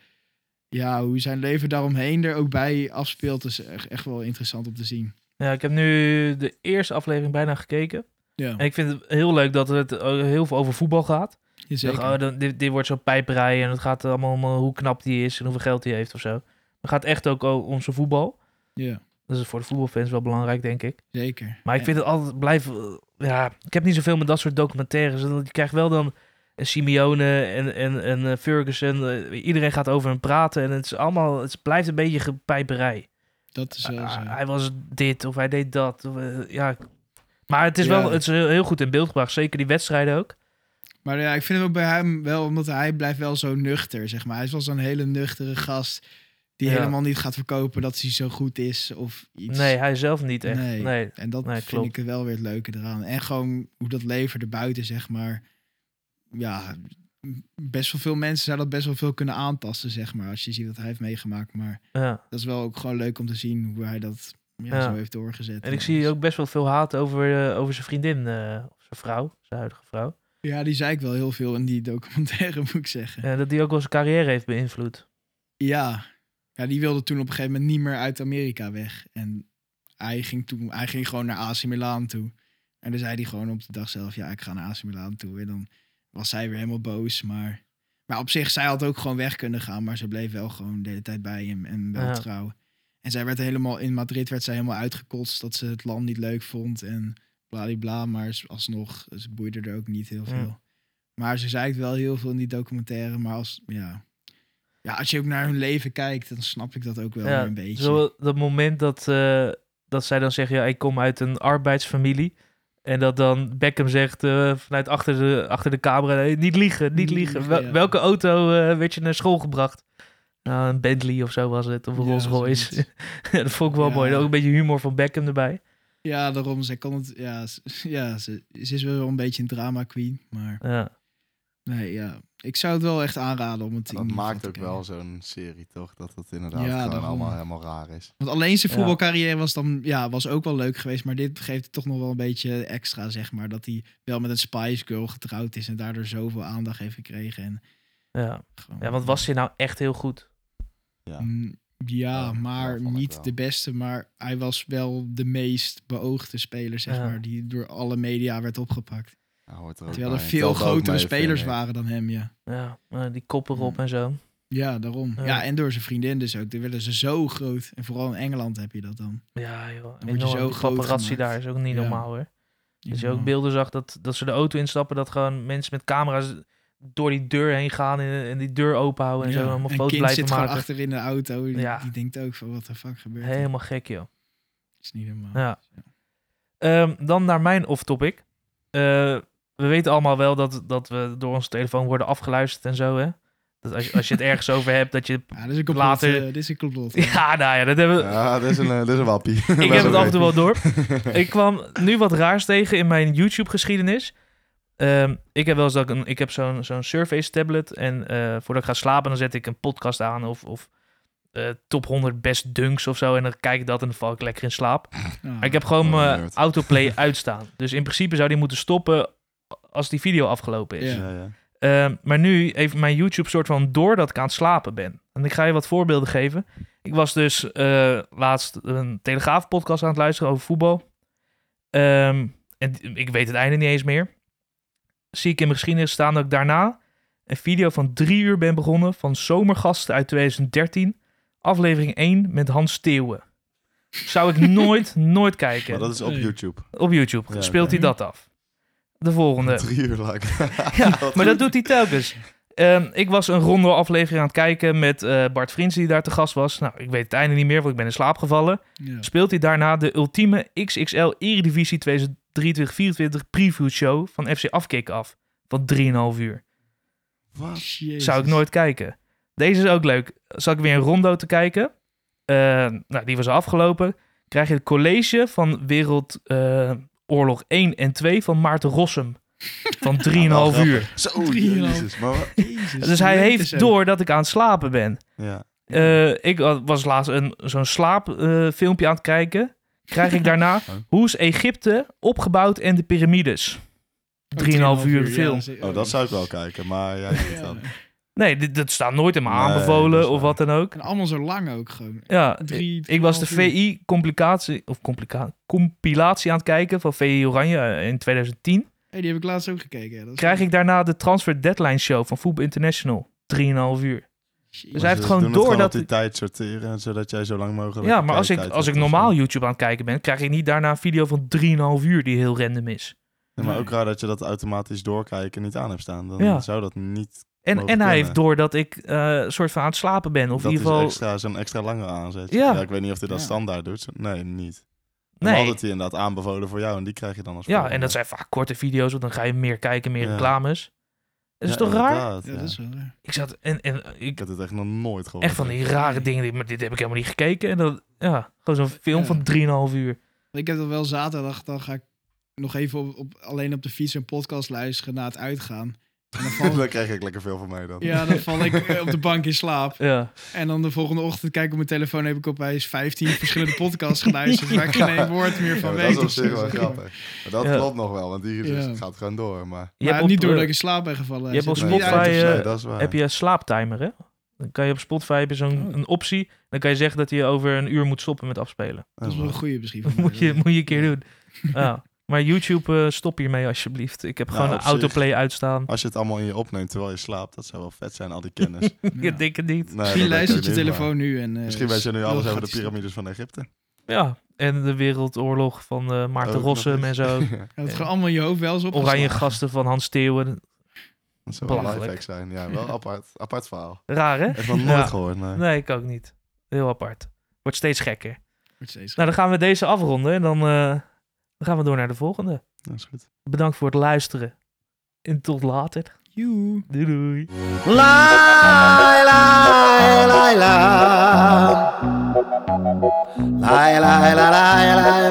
C: Ja, hoe zijn leven daaromheen er ook bij afspeelt, is echt, echt wel interessant om te zien.
A: ja, ik heb nu de eerste aflevering bijna gekeken.
C: Ja.
A: En ik vind het heel leuk dat het eh, heel veel over voetbal gaat.
C: Ja,
A: Ik dacht, oh, dan- dit, dit wordt zo'n pijperij en het gaat allemaal om eh, hoe knap die is en hoeveel geld die heeft of zo. Maar het gaat echt ook o- om zijn voetbal.
C: Ja,
A: Dat is voor de voetbalfans wel belangrijk, denk ik.
C: zeker.
A: Maar ik vind het altijd blijven... eh, Ja, ik heb niet zoveel met dat soort documentaires. Want Je krijgt wel dan een Simeone en, en, en eh, Ferguson. eh, Iedereen gaat over hem praten. En het, is allemaal, het blijft een beetje gepijperij.
C: dat is wel zo.
A: Ah, hij was dit of hij deed dat. Of, eh, ja. Maar het is
C: Ja.
A: wel het is heel, heel goed in beeld gebracht. Zeker die wedstrijden ook.
C: Maar ja, ik vind het ook bij hem wel, omdat hij blijft wel zo nuchter, zeg maar. Hij is wel zo'n hele nuchtere gast die
A: Ja.
C: helemaal niet gaat verkopen dat hij zo goed is of iets.
A: Nee, hij zelf niet echt.
C: Nee.
A: nee.
C: En dat
A: Nee,
C: vind
A: klopt.
C: ik er wel weer het leuke eraan. En gewoon hoe dat leven erbuiten, zeg maar. Ja, m- best wel veel mensen zou dat best wel veel kunnen aantasten, zeg maar. Als je ziet wat hij heeft meegemaakt. Maar
A: Ja.
C: dat is wel ook gewoon leuk om te zien hoe hij dat ja,
A: Ja.
C: zo heeft doorgezet.
A: En ik zie ook best wel veel haat over, eh, over zijn vriendin, eh, of zijn vrouw, zijn huidige vrouw.
C: Ja, die zei ik wel heel veel in die documentaire, moet ik zeggen.
A: Eh, dat die ook wel zijn carrière heeft beïnvloed.
C: Ja. ja, die wilde toen op een gegeven moment niet meer uit Amerika weg. En hij ging, toen, hij ging gewoon naar AC Milan toe. En dan zei hij gewoon op de dag zelf, ja, ik ga naar AC Milan toe. En dan was zij weer helemaal boos. Maar, maar op zich, zij had ook gewoon weg kunnen gaan. Maar ze bleef wel gewoon de hele tijd bij hem en wel
A: Ja.
C: trouw. En zij werd helemaal, in Madrid werd zij helemaal uitgekotst dat ze het land niet leuk vond. En bladibla, maar ze- alsnog, ze boeide er ook niet heel
A: Ja.
C: veel. Maar ze zei het wel heel veel in die documentaire. Maar als, ja. Ja, als je ook naar hun leven kijkt, dan snap ik dat ook wel
A: Ja,
C: weer een beetje.
A: Zo, dat moment dat, eh, dat zij dan zegt, ja, ik kom uit een arbeidsfamilie. En dat dan Beckham zegt eh, vanuit achter de, achter de camera, "Hey, niet liegen, niet
C: Niet
A: liegen.
C: liegen,
A: Wel-
C: ja.
A: Welke auto eh, werd je naar school gebracht? Nou, een Bentley of zo was het, of een
C: Ja,
A: Rolls Royce.
C: zoiets.
A: dat vond ik wel
C: Ja.
A: mooi. Ook een beetje humor van Beckham erbij.
C: Ja, daarom. Zij kan het. Ja, ze, ja ze, ze is wel een beetje een drama queen. Maar
A: Ja,
C: nee, ja. Ik zou het wel echt aanraden om het. in
B: Dat
C: ieder geval
B: maakt
C: te
B: ook
C: kijken.
B: wel zo'n serie, toch? Dat het inderdaad
C: Ja,
B: gewoon
C: daarom.
B: allemaal helemaal raar is.
C: Want alleen zijn
A: Ja.
C: voetbalcarrière was dan. Ja, was ook wel leuk geweest. Maar dit geeft het toch nog wel een beetje extra, zeg maar. Dat hij wel met een Spice Girl getrouwd is. En daardoor zoveel aandacht heeft gekregen. En
A: ja.
C: gewoon-
A: ja, want was hij nou echt heel goed?
B: Ja.
C: Mm, Ja,
B: Ja, dat
C: maar
B: vond ik wel.
C: niet de beste. Maar hij was wel de meest beoogde speler, zeg
A: Ja.
C: maar. Die door alle media werd opgepakt.
B: Ja, hoort er ook
C: Terwijl er
B: bij. En
C: veel
B: telt ook
C: grotere
B: mee, vind
C: spelers
B: ik.
C: waren dan hem, ja.
A: Ja, eh, die kop erop
C: Hm.
A: en zo.
C: Ja, daarom.
A: Ja.
C: Ja. en door zijn vriendin dus ook. Dan werden ze zo groot. En vooral in Engeland heb je dat dan.
A: Ja, joh.
C: Dan word je
A: Enorm.
C: zo
A: Die
C: groot
A: paparazzi
C: gemaakt.
A: daar is ook niet
C: Ja.
A: normaal hoor. Dat je ook beelden zag dat, dat ze de auto instappen, dat gewoon mensen met camera's door die deur heen gaan en, en die deur open houden en zo allemaal
C: Een
A: foto's
C: kind
A: blijven
C: zit
A: maken.
C: gewoon achter in de auto. Die,
A: Ja.
C: die denkt ook van, wat de fuck gebeurt er?
A: Helemaal gek joh.
C: is niet normaal.
A: Ja. Ehm, dan naar mijn off-topic. Eh, we weten allemaal wel dat, dat we door onze telefoon worden afgeluisterd en zo, hè? Dat als, je- als je het ergens over hebt, dat je...
C: Ja, dit is een complot.
A: Later-
C: eh, dit is een complot.
A: Ja, nou ja, dat hebben we...
B: Ja, dit is een, eh, dit is een wappie.
A: Ik heb het af en toe wel door. ik kwam nu wat raars tegen in mijn YouTube-geschiedenis. Ehm, ik heb wel eens dat ik, een, ik heb zo'n zo'n Surface tablet. En eh, voordat ik ga slapen, dan zet ik een podcast aan. Of, of eh, top 100 best dunks of zo. En dan kijk ik dat en dan val ik lekker in slaap.
C: Ah.
A: Maar ik heb gewoon
B: Oh,
A: mijn
B: nerd.
A: autoplay uitstaan. Dus in principe zou die moeten stoppen als die video afgelopen is.
C: Ja.
B: Ja, ja.
A: Ehm, maar nu heeft mijn YouTube soort van door dat ik aan het slapen ben. En ik ga je wat voorbeelden geven. Ik was dus eh, laatst een Telegraaf-podcast aan het luisteren over voetbal. Ehm, en d- ik weet het einde niet eens meer. Zie ik in mijn geschiedenis staan dat ik daarna een video van drie uur ben begonnen van Zomergasten uit 2013. Aflevering 1 met Hans Theeuwen. Zou ik nooit, nooit kijken.
B: Maar dat is op
C: Nee.
B: YouTube.
A: Op YouTube
B: Ja,
A: speelt
C: oké.
A: hij dat af. De volgende.
B: Drie uur lang.
A: Ja, maar dat doet hij telkens. Ehm, ik was een ronde aflevering aan het kijken met eh, Bart Vriends die daar te gast was. Nou, ik weet het einde niet meer, want ik ben in slaap gevallen.
C: Ja.
A: Speelt hij daarna de ultieme XXL Eredivisie 2023-24 preview show van FC Afkick af. Van 3,5 uur.
B: Wat?
C: Jezus.
A: Zou ik nooit kijken. Deze is ook leuk. Zat ik weer een rondo te kijken. Eh, nou, die was afgelopen. Krijg je het college van Wereldoorlog 1 en 2 van Maarten Rossum. Van 3,5
B: grappig.
A: uur.
B: Zo,
C: Drieënhalf.
B: jezus. Maar, wat-
C: Jezus,
A: Dus hij
C: die lengte
A: heeft
C: zo. Oh,
A: door dat ik aan het slapen ben.
B: ja.
A: Eh, ik had- was laatst een, zo'n slaapfilmpje aan het kijken. Krijg ik daarna, hoe is Egypte opgebouwd en de piramides? 3,5 uur
C: ja,
A: film.
C: ze-
B: Oh, dat zou ik wel kijken, maar jij niet
C: Ja.
A: Dus
B: dan.
A: Nee, dit, dat staat nooit in me
B: Nee, dat
A: aanbevolen
B: is
A: of
B: waar.
A: wat dan ook.
C: En allemaal zo lang ook gewoon.
A: Ja,
C: Drie,
A: ik- ik was de
C: drieënhalf uur.
A: VI complicatie, of complica- compilatie aan het kijken van VI Oranje eh, in 2010.
C: Hey, die heb ik laatst ook gekeken. Ja. Dat is-
A: Krijg ik daarna de Transfer Deadline Show van Voetbal International. 3,5 uur.
C: Jezus.
A: Dus hij heeft
B: Ze
A: gewoon
B: doen het
A: door
B: op
A: dat
B: die
A: ik-
B: tijd sorteren, zodat jij zo lang mogelijk...
A: Ja, maar als ik,
B: kijktijd
A: als ik
B: hebt of zo.
A: normaal YouTube aan het kijken ben, krijg ik niet daarna een video van 3,5 uur die heel random is.
B: Ja, maar
C: Nee.
B: ook raar dat je dat automatisch doorkijken niet aan hebt staan. Dan
A: Ja.
B: zou dat niet...
A: En,
B: Mogen
A: en hij
B: kennen.
A: heeft door dat ik eh, soort van aan het slapen ben. Of
B: dat
A: in
B: is
A: ieder geval.
B: extra, zo'n extra lange aanzet.
A: Ja.
B: ik weet niet of hij dat
C: Ja.
B: standaard doet. Nee, niet. Nee.
A: Nee.
B: Dan had hij inderdaad aanbevolen voor jou en die krijg je dan als
A: Ja, en dat zijn vaak korte video's, want dan ga je meer kijken, meer
B: Ja.
A: reclames. Dat is toch raar?
C: Ja, dat is wel raar.
A: Ik zat en, en ik
B: Ik had het echt nog nooit gehoord.
A: echt van die rare dingen, die- maar dit heb ik helemaal niet gekeken. En dat, ja, gewoon zo'n film
C: Ja.
A: van 3,5 uur.
C: Ik heb dan wel zaterdag, dan ga ik nog even op, op, alleen op de fiets een podcast luisteren na het uitgaan. En dan val,
B: Daar krijg ik lekker veel van mee dan.
C: ja, dan val ik eh, op de bank in slaap.
A: Ja.
C: En dan de volgende ochtend kijk ik op mijn telefoon, heb ik opeens 15 verschillende podcasts geluisterd waar ik geen één woord meer
B: Ja,
C: van
B: maar
C: weet.
B: dat is op
C: of
B: zich
C: zo.
B: wel grappig. Maar dat
A: Ja.
B: klopt nog wel, want die dus
C: Ja.
B: gaat gewoon door. Maar
A: Je
C: Maar
A: hebt op,
C: niet door dat
A: eh,
C: ik in slaap ben gevallen.
A: je hebt op
C: Zit er niet
A: Spotify,
C: uit of zo.
A: eh,
B: Nee, dat is waar.
A: heb je een slaaptimer, hè? Dan kan je op Spotify heb je zo'n
C: Oh.
A: een optie. Dan kan je zeggen dat je over een uur moet stoppen met afspelen.
C: Dat is wel een goede
A: Dat
C: beschikking.
A: moet je, moet je een keer doen. Ja. Maar YouTube, eh, stop hiermee alsjeblieft. Ik heb
B: Nou,
A: gewoon een
B: op zich-
A: autoplay uitstaan.
B: Als je het allemaal in je opneemt terwijl je slaapt, dat zou wel vet zijn, al die kennis. Nee,
A: Ik denk het niet.
B: dat
C: Misschien
B: weet
C: luistert
B: ik
C: je
B: niet, maar
C: telefoon nu en... eh,
B: Misschien weet je nu
C: wil
B: alles
C: gaat
B: over de
C: die slaap.
B: piramides van Egypte.
A: Ja, en de Wereldoorlog van eh, Maarten
B: Ook
A: Rossum
B: nog
A: en
B: eens.
A: zo.
C: Ja, Het gaat allemaal in je hoofd wel eens op.
A: Oranje gasten van Hans Theeuwen.
B: Dat zou wel een
A: Belachelijk.
B: lifehack zijn. Ja, wel apart, apart verhaal.
A: Raar, hè?
B: Echt nog nooit
A: Ja.
B: gehoord, nee.
A: Nee, ik ook niet. Heel apart. Wordt steeds gekker.
C: Wordt steeds
A: Nou, dan gaan we deze afronden en dan, eh, dan gaan we door naar de volgende.
B: Dat is goed.
A: Bedankt voor het luisteren. En tot later.
C: Joe.
A: Doei doei.
D: Lai, lai, lai, lai. Lai, lai, lai, lai, lai,